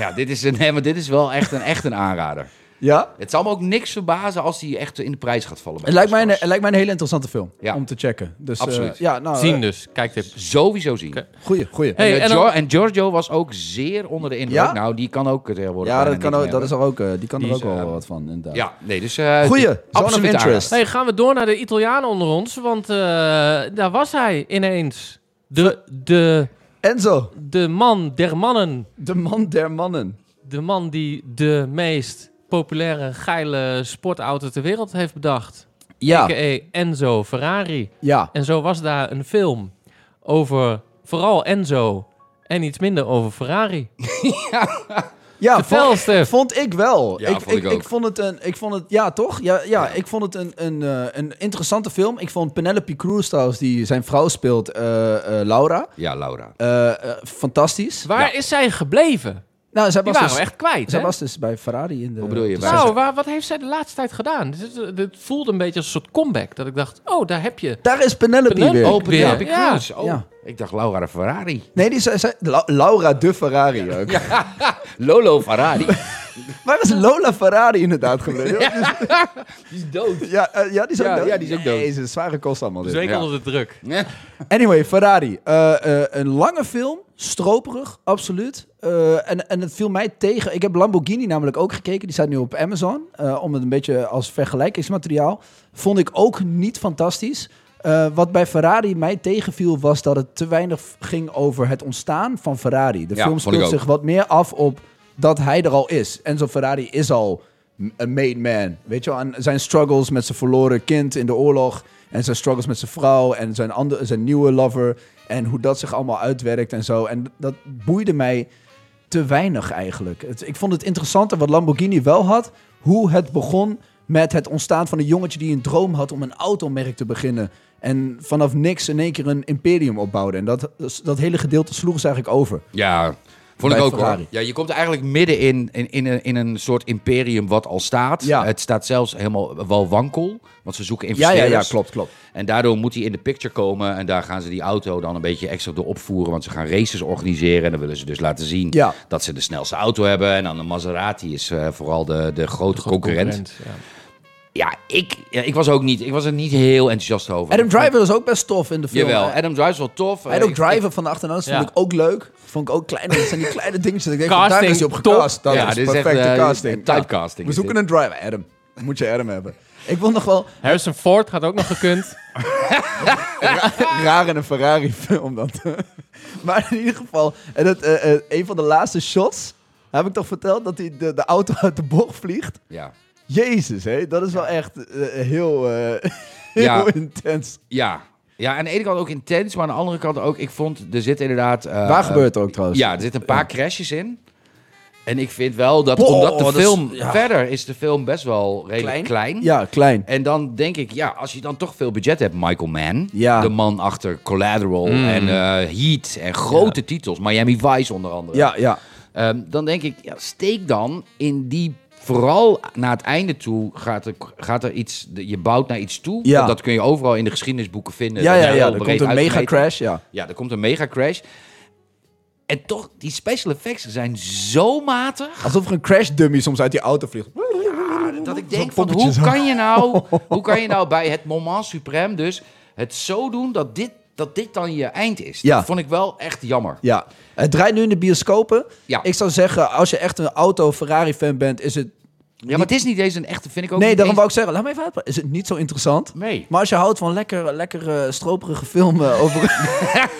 S4: Ja, dit is, een, nee, maar dit is wel echt een, echt een aanrader.
S3: Ja?
S4: Het zal me ook niks verbazen als die echt in de prijs gaat vallen. bij
S3: Het lijkt, mij een,
S4: Oscars.
S3: het lijkt mij een hele interessante film
S4: Ja.
S3: om te checken. Dus, eh,
S4: Absoluut.
S3: ja, nou, eh,
S2: Zien dus, kijktip.
S4: Sowieso zien.
S2: Oké.
S3: Goeie, goeie.
S2: Hey,
S4: en, eh,
S2: en dan-
S4: Gior- en Giorgio was ook zeer onder de indruk.
S3: Ja?
S4: Nou, die kan ook tegenwoordig
S3: ja, dat,
S4: bijna
S3: kan
S4: niks
S3: ook, dat
S4: meer
S3: is er ook, eh, die kan
S4: Die
S3: er ook
S4: is,
S3: wel
S4: eh,
S3: wat van, inderdaad.
S4: hebben. Ja, nee, dus... eh,
S3: Goeie,
S4: dit-
S3: Zone of
S4: absoluut
S3: Interest.
S2: Hey, gaan we door naar de Italianen onder ons, want eh, daar was hij ineens. De, de,
S3: Enzo,
S2: de man der mannen.
S3: de man der mannen.
S2: De man die de meest populaire, geile sportauto ter wereld heeft bedacht.
S3: Ja,
S2: A.k.a. Enzo Ferrari.
S3: ja.
S2: En zo was daar een film over vooral Enzo en iets minder over Ferrari.
S3: ja
S2: Vertel,
S3: vond,
S2: Stef.
S3: vond ik wel.
S4: Ja,
S3: ik,
S4: vond ik ook.
S3: vond het een, ik vond het, ja toch? Ja, ja, ik vond het een, een, eh, een interessante film. Ik vond Penelope Cruz trouwens, die zijn vrouw speelt, eh, eh, Laura,
S4: aardig. Ja, Laura.
S3: eh, eh, fantastisch.
S2: Waar is zij gebleven?
S3: Nou, zij
S2: Die
S3: was,
S2: waren
S3: dus,
S2: we echt kwijt.
S3: zij
S2: hè?
S3: was dus bij Ferrari in de...
S4: Wat bedoel je?
S3: de
S4: Bij-
S2: Nou, waar, wat heeft zij de laatste tijd gedaan? Dit, is- dit voelde een beetje als een soort comeback. Dat ik dacht, oh, daar heb je.
S3: Daar is Penelope,
S2: Penelope.
S3: weer.
S4: Open
S2: weer.
S4: ja.
S2: Ja.
S4: Cruise. Oh,
S3: Ja.
S4: ik dacht Laura de Ferrari.
S3: Nee, die zei, zei- La- Laura de Ferrari ook.
S4: Lolo Ferrari.
S3: Waar is Lola Ferrari inderdaad gebleven? Ja,
S4: die is dood.
S3: ja, eh, ja, die is ook
S4: Ja,
S3: dood.
S4: ja, die is ook dood. Dus
S3: Jezus, zware kost allemaal dit.
S2: Zeker
S4: ja.
S2: onder de druk.
S4: Ja.
S3: Anyway, Ferrari. Eh, eh, een lange film, stroperig, absoluut. Eh, en, en het viel mij tegen. Ik heb Lamborghini namelijk ook gekeken. Die staat nu op Amazon. Eh, om het een beetje als vergelijkingsmateriaal. Vond ik ook niet fantastisch. Eh, wat bij Ferrari mij tegenviel was dat het te weinig ging over het ontstaan van Ferrari. De
S4: Ja,
S3: film
S4: vond ik
S3: speelt
S4: ook.
S3: zich wat meer af op dat hij er al is. Enzo Ferrari is al m- een made man. Weet je wel, en zijn struggles met zijn verloren kind in de oorlog... en zijn struggles met zijn vrouw en zijn, andere, zijn nieuwe lover... en hoe dat zich allemaal uitwerkt en zo. En dat boeide mij te weinig eigenlijk. Het, ik vond het interessanter wat Lamborghini wel had... hoe het begon met het ontstaan van een jongetje die een droom had... om een automerk te beginnen... En vanaf niks in één keer een imperium opbouwde. En dat, dat hele gedeelte sloeg ze eigenlijk over.
S4: Ja, vond ik
S3: Bij
S4: ook
S3: Ferrari.
S4: hoor. Ja, je komt eigenlijk midden in, in, in, een, in een soort imperium wat al staat.
S3: Ja.
S4: Het staat zelfs helemaal wel wankel, want ze zoeken
S3: Ja, ja,
S4: investeerders.
S3: ja, klopt, klopt.
S4: En daardoor moet hij in de picture komen en daar gaan ze die auto dan een beetje extra door opvoeren. Want ze gaan races organiseren en dan willen ze dus laten zien
S3: Ja.
S4: dat ze de snelste auto hebben. En dan de Maserati is eh, vooral de, de grote concurrent.
S2: ja.
S4: Ja ik, ja, ik was ook niet, ik was er niet heel enthousiast over.
S3: Adam Driver is ook best tof in de film.
S4: Jawel,
S3: hè?
S4: Adam Driver is wel tof.
S3: Hij had
S4: Eh,
S3: ook
S4: ik- ik-
S3: Driver van de achternaam,
S2: Ja.
S3: vond ik ook leuk. Vond ik ook kleine, dat zijn die kleine dingetjes. dat Ik denk, van, daar
S2: Casting,
S3: is hij op
S2: top.
S3: gecast. Dat
S4: Ja,
S3: is
S4: dit is echt,
S3: perfecte
S4: eh,
S3: casting.
S4: typecasting
S3: Ja.
S4: is
S3: We
S4: dit.
S3: zoeken een Driver, Adam. Moet je Adam hebben. Ik wil nog wel
S2: Harrison Ford had ook nog gekund.
S3: raar in een Ferrari film dan. maar in ieder geval, en dat, eh, eh, een van de laatste shots, heb ik toch verteld, dat hij de, de auto uit de bocht vliegt.
S4: Ja.
S3: Jezus, hé, dat is wel echt eh, heel, eh, heel
S4: Ja.
S3: intens.
S4: Ja. ja, aan de ene kant ook intens, maar aan de andere kant ook... Ik vond, er zit inderdaad... eh,
S3: Waar
S4: eh,
S3: gebeurt dus? het ook trouwens?
S4: Ja, er zitten een paar crashes in. En ik vind wel dat,
S3: Boah,
S4: omdat de
S3: oh, dat is-
S4: film...
S3: ja.
S4: Verder is de film best wel redelijk klein.
S3: Ja, klein.
S4: En dan denk ik, ja, als je dan toch veel budget hebt, Michael Mann.
S3: Ja.
S4: De man achter Collateral en eh, Heat en grote titels. Miami Vice onder andere.
S3: Ja, ja.
S4: Ehm, dan denk ik, ja, steek dan in die. Vooral naar het einde toe gaat er, gaat er iets. de- Je bouwt naar iets toe.
S3: Ja.
S4: Want Dat kun je overal in de geschiedenisboeken vinden.
S3: Ja,
S4: Dat
S3: ja,
S4: is
S3: ja.
S4: heel
S3: Er
S4: breed
S3: komt een mega
S4: uitgemeten.
S3: crash, ja.
S4: Ja, er komt een mega crash. En toch, die special effects zijn zo matig.
S3: Alsof er een crash dummy soms uit die auto vliegt.
S4: Dat ik
S3: Zo'n
S4: denk: van,
S3: poppetje
S4: hoe,
S3: zo.
S4: kan je nou, hoe kan je nou bij het moment suprême dus het zo doen dat dit, dat dit dan je eind is?
S3: Ja.
S4: Dat vond ik wel echt jammer.
S3: Ja. Het draait nu in de bioscopen.
S4: Ja.
S3: Ik zou zeggen, als je echt een auto-Ferrari-fan bent, is het...
S4: Ja, maar het is niet eens een echte, vind ik ook.
S3: Nee,
S4: niet
S3: daarom
S4: eens-
S3: wou ik zeggen, laat me even uitpraten. Is het niet zo interessant?
S4: Nee.
S3: Maar als je houdt van lekker, lekker eh, stroperige filmen over...
S4: maar-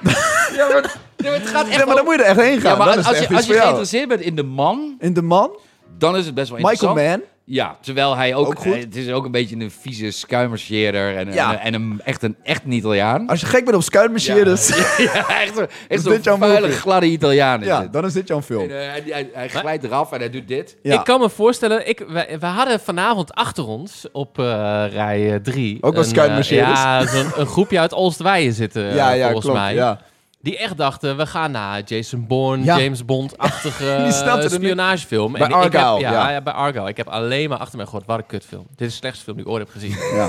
S4: nee, maar het gaat echt
S3: Ja, maar dan
S4: over-
S3: moet je er echt heen gaan.
S4: Ja, maar
S3: Dan
S4: als,
S3: is het echt
S4: je,
S3: iets
S4: als je
S3: voor jou.
S4: geïnteresseerd bent in de man,
S3: In de man,
S4: dan is het best wel
S3: Michael
S4: interessant.
S3: Mann.
S4: Ja, terwijl hij ook,
S3: Ook goed.
S4: eh, het is ook een beetje een vieze schuimerscheerder en, een-
S3: Ja.
S4: en, een, echt een echt een Italiaan.
S3: Als je gek bent op dus- schuitmarcheerders, ja.
S4: ja, echt een, echt
S3: dit jouw
S4: zo'n vuile,
S3: movie?
S4: gladde Italiaan is het.
S3: dan is dit jouw film.
S4: En, eh, hij, hij, hij glijdt eraf en hij doet dit.
S3: Ja.
S2: Ik kan me voorstellen, ik, wij, wij hadden vanavond achter ons op eh, rij 3...
S3: Ook wel schuitmarcheerders.
S2: ja, zo'n, een groepje uit Olstwaaien zitten,
S3: ja,
S2: eh,
S3: ja,
S2: volgens
S3: klopt.
S2: mij.
S3: Ja.
S2: Die echt dachten, we gaan naar Jason Bourne,
S3: Ja.
S2: James Bond-achtige
S3: Die snapte er
S2: eh,
S3: niet.
S2: spionagefilm.
S3: Bij
S2: ik heb-
S3: Argyle,
S2: ja,
S3: ja.
S2: ja, bij Argyle. Ik heb alleen maar achter mij gehoord, wat een kutfilm. Dit is de slechtste film die ik ooit heb gezien.
S3: Ja.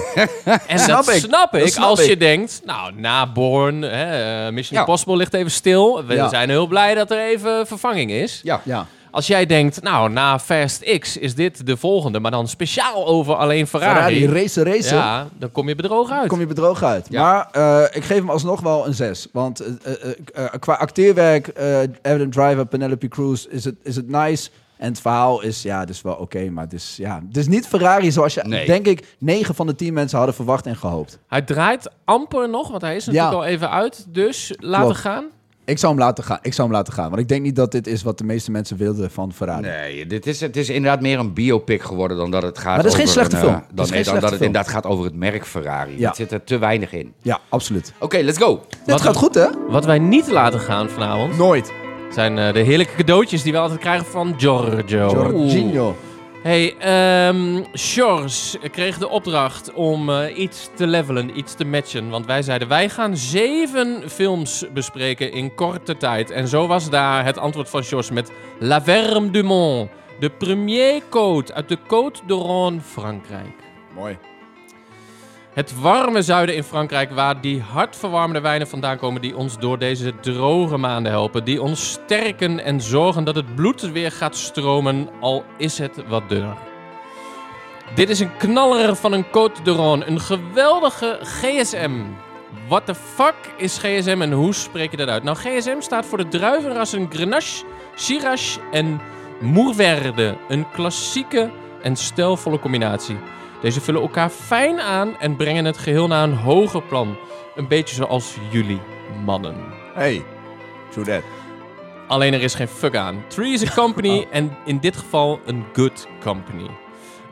S2: En
S3: Snap
S2: dat
S3: ik.
S2: snap ik.
S3: Dat snap
S2: als
S3: ik.
S2: je denkt, nou, na Bourne, hè, eh, Mission
S4: Ja.
S2: Impossible ligt even stil. We
S3: Ja.
S2: zijn heel blij dat er even vervanging is.
S4: Ja.
S3: ja.
S2: Als jij denkt, nou, na Fast X is dit de volgende, maar dan speciaal over alleen Ferrari.
S3: Ferrari, race, race.
S2: ja, dan kom je bedroog uit.
S3: Kom je bedroog uit.
S4: Ja.
S3: Maar eh, ik geef hem alsnog wel een 6. Want eh, eh, eh, qua acteerwerk, eh Adam Driver, Penelope Cruz, is het, is het nice. En het verhaal is, ja, het is wel oké. maar het is, ja, het is niet Ferrari zoals je,
S4: Nee.
S3: denk ik, 9 van de 10 mensen hadden verwacht en gehoopt.
S2: Hij draait amper nog, want hij is natuurlijk
S3: Ja.
S2: al even uit. Dus laten
S3: Klopt.
S2: gaan.
S3: Ik zou hem laten gaan. Ik zou hem laten gaan. Want ik denk niet dat dit is wat de meeste mensen wilden van Ferrari.
S4: Nee, dit is, het is inderdaad meer een biopic geworden dan dat het gaat
S3: Maar dat is
S4: over...
S3: geen slechte
S4: een,
S3: film.
S4: eh,
S3: Dat is
S4: Dan, nee,
S3: geen
S4: dan dat
S3: slechte
S4: het
S3: film.
S4: inderdaad gaat over het merk Ferrari.
S3: Ja.
S4: Het zit er te weinig in.
S3: Ja, absoluut.
S4: Oké, let's go.
S3: Dit gaat goed, hè?
S2: Wat wij niet laten gaan vanavond,
S3: Nooit.
S2: zijn eh, de heerlijke cadeautjes die we altijd krijgen van Giorgio.
S3: Jorginho.
S2: Hey, ehm Shores kreeg de opdracht om eh, iets te levelen, iets te matchen. Want wij zeiden, wij gaan zeven films bespreken in korte tijd. En zo was daar het antwoord van Shores met La Verme du Monde. De premier Côte uit de Côte de Rhône, Frankrijk.
S3: Mooi.
S2: Het warme zuiden in Frankrijk, waar die hartverwarmende wijnen vandaan komen die ons door deze droge maanden helpen. Die ons sterken en zorgen dat het bloed weer gaat stromen, al is het wat dunner. Dit is een knaller van een Côte de Rhône, een geweldige GSM. What the fuck is GSM en hoe spreek je dat uit? Nou, GSM staat voor de druivenrassen Grenache, Shiraz en Mourverde. Een klassieke en stijlvolle combinatie. Deze vullen elkaar fijn aan en brengen het geheel naar een hoger plan. Een beetje zoals jullie, mannen.
S3: Hey, true that.
S2: Alleen er is geen fuck aan. Tree is a company
S4: Oh.
S2: en in dit geval een good company.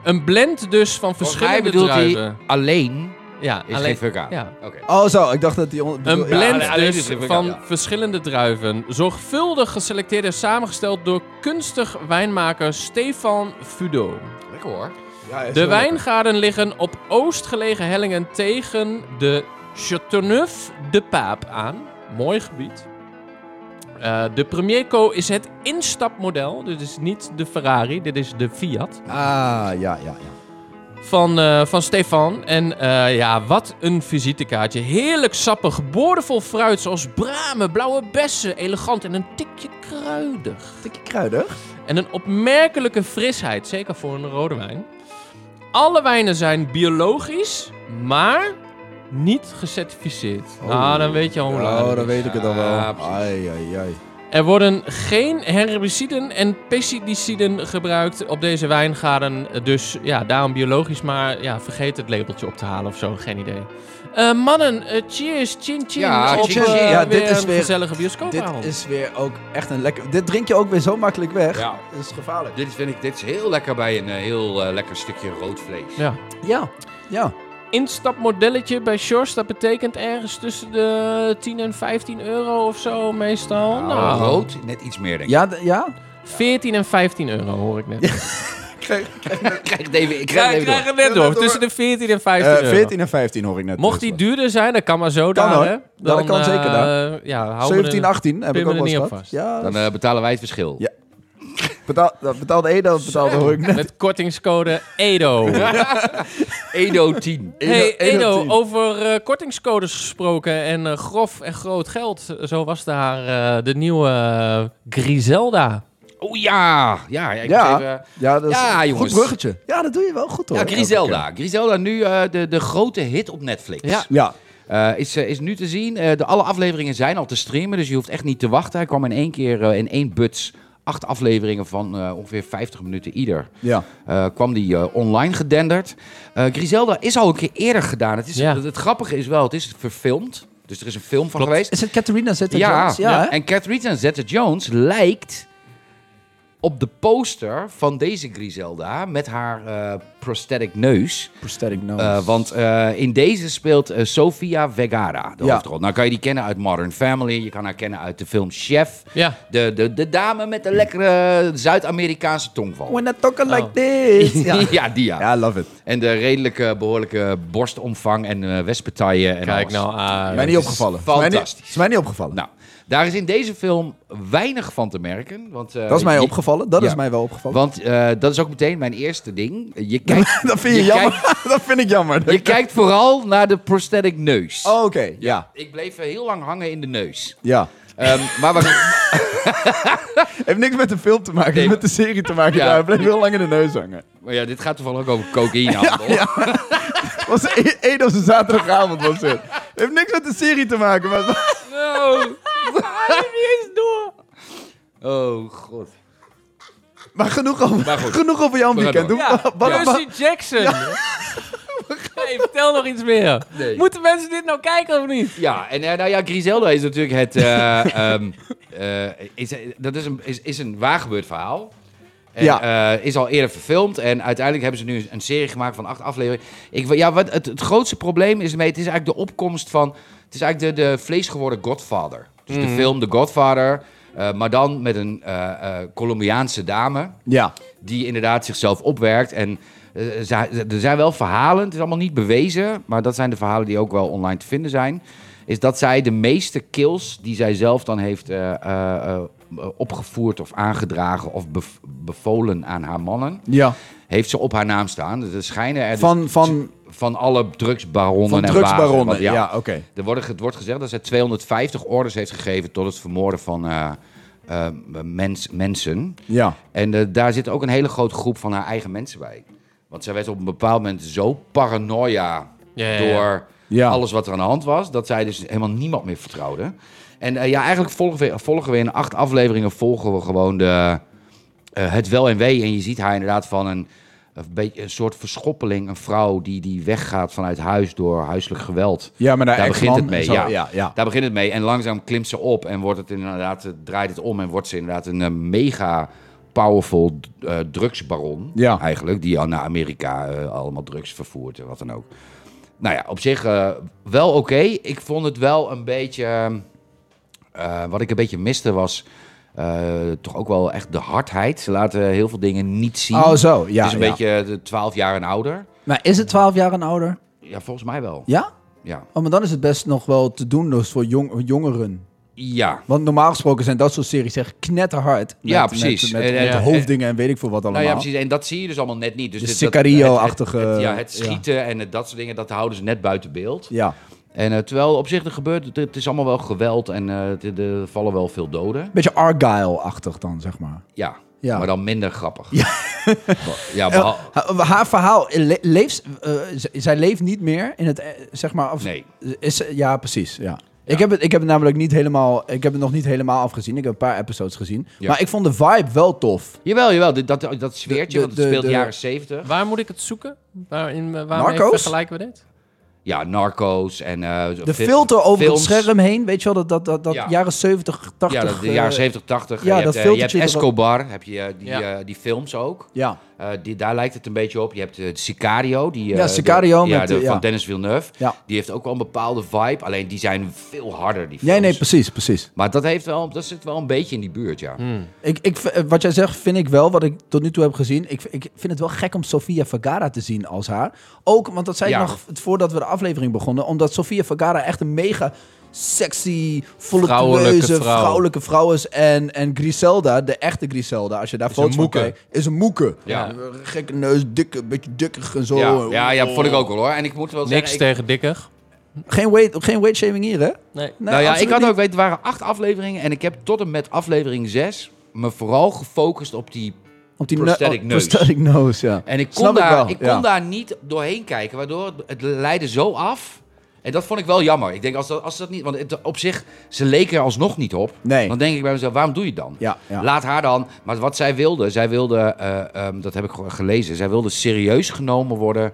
S2: Een blend dus van
S4: Hij
S2: verschillende
S4: bedoelt
S2: druiven.
S4: hij alleen
S2: Ja,
S4: is geen fuck aan.
S2: ja.
S4: Oké.
S3: Oh zo, ik dacht dat die... on-
S2: Een
S3: bedoel- ja,
S2: blend
S4: alleen- alleen
S2: dus
S4: is geen fuck
S2: van
S4: aan, ja.
S2: verschillende druiven. Zorgvuldig geselecteerd en samengesteld door kunstig wijnmaker Stefan Fudo.
S4: Lekker hoor.
S3: ja, is
S2: De
S3: wel
S2: wijngaarden liggen op oost gelegen hellingen tegen de Châteauneuf-de-Paap aan. Mooi gebied. Eh, de Premier Co is het instapmodel. Dit is niet de Ferrari, dit is de Fiat.
S3: lekker. Ah, ja, ja, ja.
S2: Van, eh, van Stefan. En eh, ja, wat een visitekaartje. Heerlijk sappig, boordevol fruit zoals bramen, blauwe bessen. Elegant en een tikje kruidig.
S3: Tikje kruidig.
S2: En een opmerkelijke frisheid, zeker voor een rode wijn. Alle wijnen zijn biologisch, maar niet gecertificeerd. nou, dan weet je al hoe laat
S3: Oh,
S2: het
S3: dan
S2: is.
S3: weet ik het al wel.
S4: Ja, precies.
S3: Ai, ai, ai.
S2: Er worden geen herbiciden en pesticiden gebruikt op deze wijngaarden. Dus ja, daarom biologisch, maar ja, vergeet het labeltje op te halen of zo, geen idee. Eh, mannen, eh, cheers, chin chin.
S4: Ja,
S2: op,
S4: chin,
S2: eh,
S3: chin. Ja, dit
S2: weer
S3: is
S2: een
S3: weer-
S2: gezellige bioscoopavond.
S3: Dit is weer ook echt een lekker... Dit drink je ook weer zo makkelijk weg.
S4: Ja.
S3: Dat is gevaarlijk.
S4: Dit is, vind ik dit is heel lekker bij een eh, heel eh, lekker stukje rood vlees.
S2: Ja.
S3: Ja, ja.
S2: instapmodelletje bij Shores. Dat betekent ergens tussen de 10 en 15 euro of zo meestal.
S4: Nou,
S2: nou,
S4: rood, net iets meer denk ik.
S3: Ja, d- ja.
S2: 14 en 15 euro hoor ik net.
S4: Ik krijg het even, ik
S2: Ja,
S4: krijg het even door.
S2: het net door. Tussen de 14 en 15
S3: Eh,
S2: euro.
S3: 14 en 15 hoor ik net. dus.
S2: Mocht die
S3: duur
S2: duurder zijn, dat kan maar zo daar.
S3: hoor.
S2: hè?
S3: Ja, dat kan
S2: eh,
S3: zeker
S2: Ja, houden we
S3: 17,
S2: er-
S3: 18 heb ik
S2: Pin me
S3: ook
S2: er
S3: wel
S2: niet
S3: eens
S2: op
S3: gehad.
S2: vast.
S3: Ja,
S4: Dan eh, betalen wij het verschil.
S3: Ja. betaal, dat betaalde Ede, dat betaalde hoor ik net.
S2: Met kortingscode EDO.
S4: Edo 10.
S2: hey
S3: Edo
S2: Edo,
S3: 10.
S2: over eh, kortingscodes gesproken en eh, grof en groot geld. Zo was daar eh, de nieuwe eh, Griselda.
S4: Oh ja. Ja, ja, ik
S3: Ja.
S4: moet even-
S3: Ja, dat is
S4: Ja,
S3: een
S4: jongens.
S3: goed bruggetje. Ja, dat doe je wel goed hoor.
S4: ja
S3: elke
S4: Griselda. Griselda, nu eh, de, de grote hit op Netflix.
S2: Ja.
S3: keer. Ja,
S4: Eh, is, eh, is nu te zien. Eh, de, alle afleveringen zijn al te streamen, dus je hoeft echt niet te wachten. Hij kwam in één keer, eh, in één buts, acht afleveringen van eh, ongeveer 50 minuten ieder.
S3: ja.
S4: Eh, kwam die eh, online gedenderd. Eh, Griselda is al een keer eerder gedaan. Het, is,
S2: Ja.
S4: het, het grappige is wel, het is verfilmd. Dus er is een film van
S2: Klopt.
S4: geweest.
S3: Is het Catherine Zeta
S4: Ja,
S3: Jones? Ja, hè?
S4: en Catherine Zeta-Jones lijkt op de poster van deze Griselda met haar eh, prosthetic neus.
S3: Prosthetic nose.
S4: Eh, want eh, in deze speelt eh, Sofia Vergara de
S3: Ja.
S4: hoofdrol. Nou kan je die kennen uit Modern Family. Je kan haar kennen uit de film Chef.
S2: Ja.
S4: De, de, de dame met de lekkere Zuid-Amerikaanse tongval.
S3: We're not talking like this.
S4: Ja,
S3: Ja.
S4: die ja.
S3: ja, love it.
S4: En de redelijke, behoorlijke borstomvang en eh wespartijen. En
S2: Kijk
S4: alles.
S2: nou aan.
S3: mij niet opgevallen. Is mij niet-
S4: fantastisch.
S3: Is mij niet opgevallen.
S4: Nou, daar is in deze film weinig van te merken. Want, eh,
S3: dat is mij
S4: je-
S3: opgevallen. Dat
S4: ja.
S3: is mij wel opgevallen.
S4: Want eh, dat is ook meteen mijn eerste ding. Je kijkt,
S3: dat vind je,
S4: je
S3: jammer. dat vind ik jammer.
S4: je kijkt vooral naar de prosthetic neus.
S3: Oh, Oké, ja.
S4: Ik bleef eh, heel lang hangen in de neus.
S3: Ja.
S4: Ehm, maar we,
S3: Heeft niks met de film te maken,
S4: Nee,
S3: met de serie te maken.
S4: Ja.
S3: Ja. Hij bleef heel lang in de neus hangen.
S4: maar ja, dit gaat toevallig ook over cocaïnehandel.
S3: Het was e- één op zijn zaterdagavond was het. Heeft niks met de serie te maken, maar...
S4: No. Oh, god.
S3: Maar genoeg over,
S4: Maar goed.
S3: genoeg over jouw
S4: We gaan
S3: weekend.
S4: door.
S3: Doe,
S2: Ja,
S3: wat- wat-
S2: Percy Jackson. Hey, vertel nog iets meer.
S4: Nee.
S2: Moeten mensen dit nou kijken of niet?
S4: Ja, en eh, nou ja, Griselda is natuurlijk het... eh, ehm, eh, is, dat is een, is, is een waargebeurd verhaal. En, ja. is al eerder verfilmd. En uiteindelijk hebben ze nu een serie gemaakt van acht afleveringen. Ik, wil- ja, wat, het, het grootste probleem is ermee... Het is eigenlijk de opkomst van... Het is eigenlijk de, de vleesgeworden Godfather. Dus de film The Godfather. eh, maar dan met een eh, eh, Colombiaanse dame
S3: Ja.
S4: die inderdaad zichzelf opwerkt. En eh, za- er zijn wel verhalen, het is allemaal niet bewezen, maar dat zijn de verhalen die ook wel online te vinden zijn. Is dat zij de meeste kills die zij zelf dan heeft eh, eh, eh, opgevoerd of aangedragen of bev- bevolen aan haar mannen,
S3: Ja.
S4: heeft ze op haar naam staan. Dus er schijnen er dus-
S3: Van, van,
S4: van alle drugsbaronnen
S3: van
S4: en bazen,
S3: drugsbaronnen.
S4: want
S3: Ja, oké.
S4: er wordt, het wordt gezegd dat zij 250 orders heeft gegeven tot het vermoorden van eh, eh, mens, mensen.
S3: Ja.
S4: En eh, daar zit ook een hele grote groep van haar eigen mensen bij. Want zij werd op een bepaald moment zo paranoia
S2: Ja, ja, ja.
S4: door
S3: Ja.
S4: alles wat er aan de hand was, dat zij dus helemaal niemand meer vertrouwde. En eh, ja, eigenlijk volgen we, volgen we in acht afleveringen volgen we gewoon de, eh, het wel en wee. En je ziet haar inderdaad van een, een, beetje, een soort verschoppeling, een vrouw die, die weggaat vanuit huis door huiselijk geweld.
S3: Ja, maar daar,
S4: Daar begint
S3: ex-man
S4: het mee,
S3: en zo.
S4: ja.
S3: ja, ja.
S4: Daar begint het mee. En langzaam klimt ze op en wordt het inderdaad, eh, draait het om en wordt ze inderdaad een eh, mega powerful eh, drugsbaron.
S3: Ja.
S4: Eigenlijk, die al naar Amerika eh, allemaal drugs vervoert en wat dan ook. Nou ja, op zich eh, wel oké. Ik vond het wel een beetje. eh, wat ik een beetje miste was. eh, toch ook wel echt de hardheid. Ze laten heel veel dingen niet zien.
S3: Oh, zo. Ja,
S4: het is een
S3: ja.
S4: beetje de 12 jaar en ouder.
S3: Maar is het 12 jaar en ouder?
S4: Ja, volgens mij wel.
S3: Ja?
S4: Ja.
S3: Oh, maar dan is het best nog wel te doen dus voor jong, jongeren.
S4: Ja.
S3: Want normaal gesproken zijn dat soort series echt knetterhard.
S4: Ja, precies.
S3: Met, met,
S4: En- en-
S3: met hoofddingen en weet ik veel wat allemaal.
S4: Nou ja, precies. En dat zie je dus allemaal net niet. Dus
S3: De
S4: dit- dat-
S3: Sicario-achtige-
S4: het- het- Ja, het
S3: ja.
S4: schieten en het- dat soort dingen, dat houden ze net buiten beeld.
S3: Ja.
S4: En eh, terwijl op zich er gebeurt, het, het is allemaal wel geweld en eh, het- er vallen wel veel doden.
S3: Beetje Argyle-achtig dan, zeg maar.
S4: Ja,
S3: Ja.
S4: maar dan minder grappig. Ja, ja behal-
S3: Eh, Ha- haar verhaal, le- leeft, eh, z- zij leeft niet meer in het, eh, zeg maar... Of,
S4: Nee.
S3: Is, ze- ja, precies, ja. Ik, heb het, ik heb het namelijk niet helemaal... Ik heb het nog niet helemaal afgezien. Ik heb een paar episodes gezien.
S4: Ja.
S3: Maar ik vond de vibe wel tof.
S4: Jawel, jawel. dit- Dat, dat, sfeertje,
S3: De-
S4: want het
S3: de-
S4: speelt de,
S3: de-
S4: jaren zeventig.
S2: Waar moet ik het zoeken? Waarin, eh, waarmee
S3: Narcos?
S2: vergelijken we dit?
S4: Ja, narco's en... eh,
S3: De
S4: fil-
S3: filter over
S4: films.
S3: het scherm heen, weet je wel? Dat, dat, dat, dat
S4: Ja.
S3: jaren 70, 80...
S4: Ja, dat- de
S3: eh,
S4: jaren 70, 80.
S3: ja,
S4: je,
S3: dat
S4: hebt, eh, je hebt
S3: filtertje erop.
S4: Escobar, heb je, eh, die,
S2: Ja.
S4: eh, die films ook.
S3: Ja,
S4: Eh, die, daar lijkt het een beetje op. Je hebt eh, Sicario. Die, eh,
S3: Ja, Sicario
S4: de- ja,
S3: met,
S4: de-
S3: eh, ja.
S4: van Dennis Villeneuve.
S3: Ja.
S4: Die heeft ook wel een bepaalde vibe. Alleen die zijn veel harder, die
S3: nee,
S4: films.
S3: nee, precies, precies.
S4: Maar dat, heeft wel, dat zit wel een beetje in die buurt, ja.
S2: Oh, Hmm.
S3: Ik, ik, v- eh, wat jij zegt vind ik wel, wat ik tot nu toe heb gezien. Ik, ik vind het wel gek om Sofia Vergara te zien als haar. Ook, want dat zei
S4: Ja.
S3: ik nog v- voordat we de aflevering begonnen. Omdat Sofia Vergara echt een mega sexy, voluptueuze,
S2: Vrouwelijke vrouw.
S3: vrouwelijke vrouw is. En, en Griselda, de echte Griselda, als je daar foto's
S2: een
S3: van
S2: moeke.
S3: kijkt, is een moeke.
S4: Ja.
S3: Een Gekke neus, dikke, beetje dikker en zo.
S4: Ja, ja, ja, vond ik ook wel hoor. En ik moet wel
S2: Niks
S4: zeggen... ik-
S2: tegen dikker.
S3: Geen, weight, geen weight shaming hier, hè?
S2: Nee.
S3: Nee,
S4: nou ja, ik
S3: absoluut
S4: had
S3: niet.
S4: ook weten, er waren acht afleveringen. En ik heb tot en met aflevering zes me vooral gefocust op die...
S3: Op die
S4: prosthetic
S3: ne-
S4: neus.
S3: prosthetic nose, ja.
S4: En ik kon,
S3: Snap ik
S4: daar,
S3: wel,
S4: ik kon
S3: ja.
S4: daar niet doorheen kijken. Waardoor het, het leidde zo af. En dat vond ik wel jammer. Ik denk, als dat, als dat niet... Want het- op zich, ze leken er alsnog niet op.
S3: Nee.
S4: Dan denk ik bij mezelf, waarom doe je het dan?
S3: Ja, ja.
S4: Laat haar dan. Maar wat zij wilde, zij wilde, eh, ehm, dat heb ik ge- gelezen, zij wilde serieus genomen worden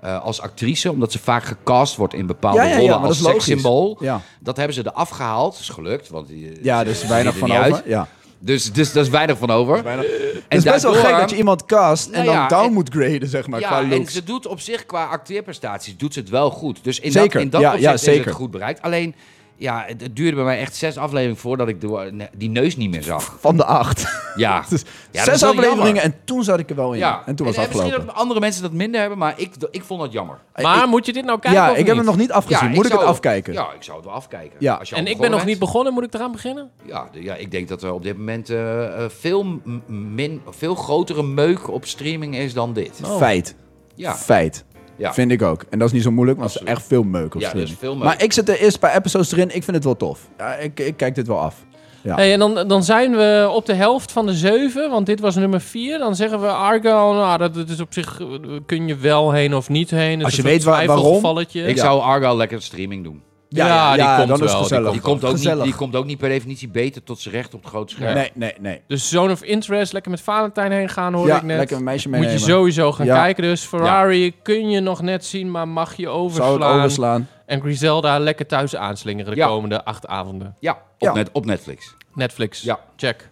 S4: eh, als actrice, omdat ze vaak gecast wordt in bepaalde
S3: Ja, ja, ja,
S4: rollen
S3: maar dat
S4: als
S3: is logisch.
S4: sekssymbool.
S3: Ja.
S4: Dat hebben ze eraf gehaald. Is gelukt, want die-
S3: Ja,
S4: ze-
S3: dus
S4: ze
S3: weinig
S4: ziet er
S3: van
S4: niet
S3: over.
S4: uit.
S3: Ja.
S4: Dus, dus daar is weinig van over. En
S3: Het is best wel
S4: daardoor-
S3: gek dat je iemand cast en
S4: Nou
S3: dan
S4: ja,
S3: down
S4: en-
S3: moet graden, zeg maar, qua
S4: en
S3: looks.
S4: ze doet op zich qua acteerprestaties doet ze het wel goed. Dus in
S3: Zeker,
S4: dat, in dat
S3: ja,
S4: opzicht
S3: ja,
S4: is
S3: zeker.
S4: het goed bereikt. Alleen, ja, het, het duurde bij mij echt zes afleveringen voordat ik de- die neus niet meer zag.
S3: Van de acht.
S4: Ja,
S3: Dus
S4: Ja, dat is
S3: zes
S4: wel
S3: afleveringen
S4: jammer.
S3: en toen zat ik er wel in.
S4: ja.
S3: En eh, toen was het
S4: misschien
S3: afgelopen.
S4: dat andere mensen dat minder hebben, maar ik, ik vond dat jammer.
S2: Maar moet je dit nou kijken
S3: ja,
S2: of
S3: ik heb
S2: niet?
S3: hem nog niet afgezien.
S4: Ja,
S3: Moet ik,
S4: zou-
S3: het afkijken?
S4: Ja, ik zou het wel afkijken.
S3: Ja.
S4: Als je al
S2: En ik ben
S4: begonnen
S2: nog niet
S4: bent.
S2: begonnen, moet ik eraan beginnen?
S4: Ja, de- ja, ik denk dat er op dit moment eh, eh, veel, m- min, veel grotere meuk op streaming is dan dit.
S3: Feit.
S4: Ja,
S3: Feit.
S4: ja.
S3: Vind ik ook. En dat is niet zo moeilijk, want er is echt veel meuk op
S4: Ja, er is
S3: streaming.
S4: veel meuk.
S3: Maar ik zit er eerst een paar episodes erin. Ik vind het wel tof. Ja, ik, ik kijk dit wel af. Ja.
S2: Hey, en dan, dan zijn we op de helft van de zeven, want dit was nummer vier. Dan zeggen we Argo, nou, dat, dat is op zich, eh, kun je wel heen of niet heen. Het
S3: Als je
S2: is een
S3: weet
S2: soort
S3: waar- waarom,
S2: twijfelgevalletje.
S4: Ik zou Argo lekker streaming doen.
S2: Ja, die komt
S3: dan is het
S2: wel, die
S3: gezellig.
S4: Die komt, ook niet,
S3: Gezellig.
S4: die komt ook niet per definitie beter tot zijn recht op het grote scherm.
S3: Nee, nee, nee.
S2: Dus Zone of Interest, lekker met Valentijn heen gaan, hoor
S3: Ja,
S2: ik net.
S3: lekker een meisje
S2: Moet je
S3: meenemen.
S2: sowieso gaan
S3: Ja.
S2: kijken. Dus Ferrari kun je nog net zien, maar mag je
S3: Zou
S2: overslaan.
S3: het overslaan?
S2: En Griselda lekker thuis aanslingeren de
S4: Ja.
S2: komende acht avonden.
S4: Ja, op,
S3: Ja.
S4: Net, op Netflix.
S2: Netflix.
S4: Ja.
S2: Check.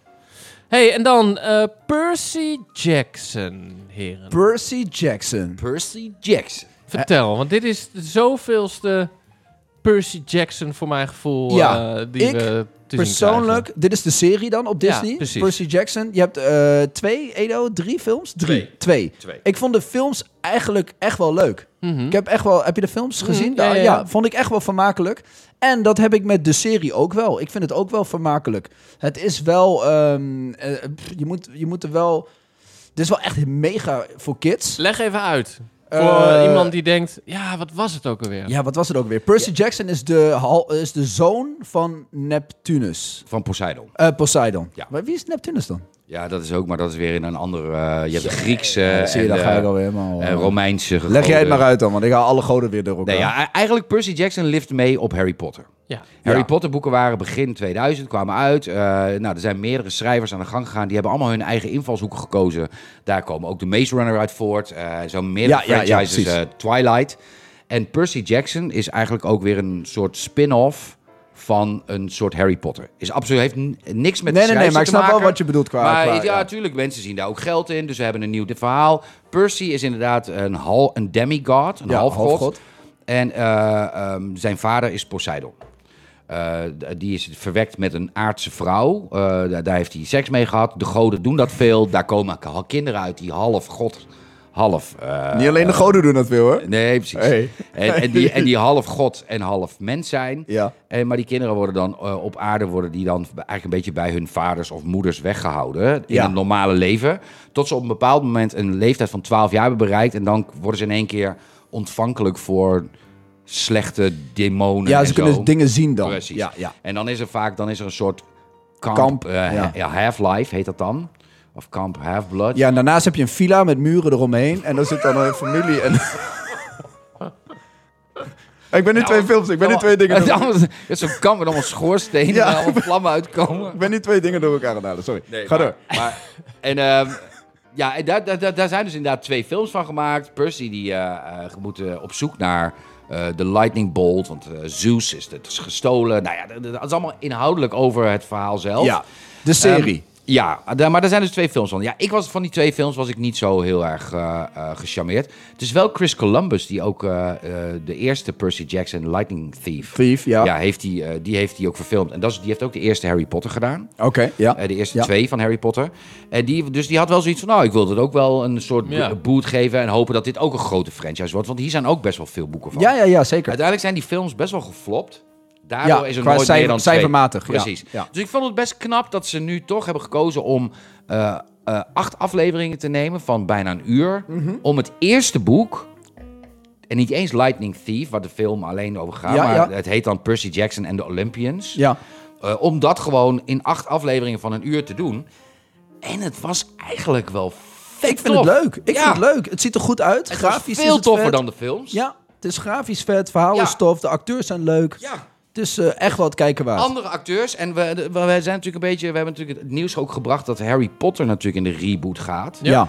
S2: hey, en dan eh, Percy Jackson, heren.
S3: Percy Jackson.
S4: Percy Jackson.
S2: Vertel, want dit is de zoveelste Percy Jackson voor mijn gevoel
S3: Ja,
S2: eh, die
S3: ik
S2: we te zien
S3: Persoonlijk, dit is de serie dan op
S2: Ja,
S3: Disney.
S2: precies.
S3: Percy Jackson. Je hebt eh, twee, Edo, drie films? Drie.
S4: Twee.
S3: Twee.
S4: Twee.
S3: Ik vond de films eigenlijk echt wel leuk.
S2: krijgen. Mhm.
S3: Ik heb echt wel, heb je de films gezien?
S2: ja,
S3: Nou,
S2: ja,
S3: ja,
S2: ja.
S3: vond ik echt wel vermakelijk. En dat heb ik met de serie ook wel. Ik vind het ook wel vermakelijk. Het is wel, ehm, eh, pff, je, moet, je moet er wel, dit is wel echt mega voor kids.
S2: Leg even uit. Voor
S3: Eh,
S2: iemand die denkt, ja, wat was het ook alweer?
S3: Ja, wat was het ook weer? Percy Jackson is de, hal- is de zoon van Neptunus.
S4: Van Poseidon.
S3: Eh, Poseidon.
S4: Ja.
S3: Maar wie is Neptunus dan?
S4: Ja, dat is ook, maar dat is weer in een andere... eh, je hebt de Griekse
S3: Ja, zie je,
S4: en
S3: daar
S4: de-
S3: ga ik alweer helemaal...
S4: en
S3: eh,
S4: Romeinse
S3: Leg jij het
S4: gegoden.
S3: maar uit dan, want ik haal alle goden weer door elkaar.
S4: Nee, ja, e- eigenlijk Percy Jackson lift mee op Harry Potter.
S2: Ja.
S4: Harry
S3: Ja.
S4: Potter boeken waren begin 2000, kwamen uit. Eh, nou, er zijn meerdere schrijvers aan de gang gegaan. Die hebben allemaal hun eigen invalshoeken gekozen. Daar komen ook de Maze Runner uit voort. Eh zo meerdere
S3: Ja, ja, ja,
S4: franchises,
S3: precies.
S4: eh, Twilight. En Percy Jackson is eigenlijk ook weer een soort spin-off van een soort Harry Potter. Is absoluut, heeft n- niks met
S3: nee,
S4: de
S3: nee, nee,
S4: schrijfster
S3: maar ik
S4: te
S3: snap wel
S4: maken.
S3: wat je bedoelt qua...
S4: Maar
S3: qua-
S4: ja, natuurlijk, mensen zien daar ook geld in. Dus ze hebben een nieuw verhaal. Percy is inderdaad een, hal, een demigod, een
S3: Ja,
S4: halfgod.
S3: halfgod.
S4: En eh, ehm, zijn vader is Poseidon. Eh, d- die is verwekt met een aardse vrouw. Eh, da- daar heeft hij seks mee gehad. De goden doen dat veel. Daar komen k- kinderen uit die half god, half... eh,
S3: Niet alleen de goden doen dat veel, hoor.
S4: Nee, precies.
S3: Hey.
S4: En, en, die, en die half god en half mens zijn.
S3: Ja.
S4: En, maar die kinderen worden dan eh, op aarde worden die dan eigenlijk een beetje bij hun vaders of moeders weggehouden in
S3: Ja.
S4: het normale leven. Tot ze op een bepaald moment een leeftijd van 12 jaar hebben bereikt. En dan worden ze in één keer ontvankelijk voor slechte demonen.
S3: Ja,
S4: en
S3: ze kunnen dus
S4: zo.
S3: dingen zien dan.
S4: Precies.
S3: Ja, ja.
S4: En dan is er vaak dan is er een soort kamp,
S3: Kamp,
S4: eh,
S3: ja.
S4: ja, half-life heet dat dan. Of kamp half-blood.
S3: ja, en daarnaast heb je een villa met muren eromheen. En daar zit dan een familie en... ik ben nu twee films, ik ben nu twee dingen
S4: Het
S3: door,
S4: allemaal- het is Zo'n kamp met allemaal schoorstenen
S3: Ja.
S4: waar allemaal vlammen uitkomen.
S3: ik ben nu twee dingen door elkaar aan het halen, sorry. Ga
S4: maar-
S3: door.
S4: Maar, en ehm, ja, en daar, daar, daar- daar zijn dus inderdaad twee films van gemaakt. Percy die eh, eh, moet eh, op zoek naar eh, de Lightning Bolt, want eh, Zeus is, het is gestolen. Nou ja, dat- dat dat is allemaal inhoudelijk over het verhaal zelf.
S3: Ja, de serie.
S4: Ehm, ja, daar- maar daar zijn dus twee films van. Ja, ik was van die twee films was ik niet zo heel erg eh, eh, gecharmeerd. Het is wel Chris Columbus die ook eh, eh, de eerste Percy Jackson Lightning Thief.
S3: Thief, ja.
S4: Ja, heeft die, eh, die heeft die ook verfilmd. En dat is, die heeft ook de eerste Harry Potter gedaan.
S3: Oké, ja.
S4: Eh, de eerste
S3: Ja.
S4: twee van Harry Potter. En die, dus die had wel zoiets van, nou, ik wil het ook wel een soort bo-
S2: Ja.
S4: boot geven... en hopen dat dit ook een grote franchise wordt. Want hier zijn ook best wel veel boeken van.
S3: Ja, ja, ja, zeker.
S4: Uiteindelijk zijn die films best wel geflopt. Daardoor
S3: Ja,
S4: is er
S3: qua
S4: nooit meer
S3: cijfer-
S4: dan twee.
S3: cijfermatig, ja.
S4: Precies.
S3: Ja.
S4: Dus ik vond het best knap dat ze nu toch hebben gekozen om... eh, eh, acht afleveringen te nemen van bijna een uur...
S3: Mhm.
S4: om het eerste boek... en niet eens Lightning Thief, waar de film alleen over gaat...
S3: Ja,
S4: maar
S3: ja.
S4: het heet dan Percy Jackson en de Olympians...
S3: Ja.
S4: Eh, om dat gewoon in acht afleveringen van een uur te doen. En het was eigenlijk wel vet
S3: Ik vind
S4: tof.
S3: het leuk. Ik
S4: Ja.
S3: vind het leuk. Het ziet er goed uit.
S4: Het was
S3: grafisch is
S4: veel
S3: het
S4: toffer
S3: vet.
S4: dan de films.
S3: Ja, het is grafisch vet, het verhaal
S4: Ja.
S3: is tof, de acteurs zijn leuk.
S4: Ja.
S3: Het is eh, echt wel het kijken waard.
S4: Andere acteurs. En we, de- we zijn natuurlijk een beetje... We hebben natuurlijk het nieuws ook gebracht dat Harry Potter natuurlijk in de reboot gaat.
S3: ja.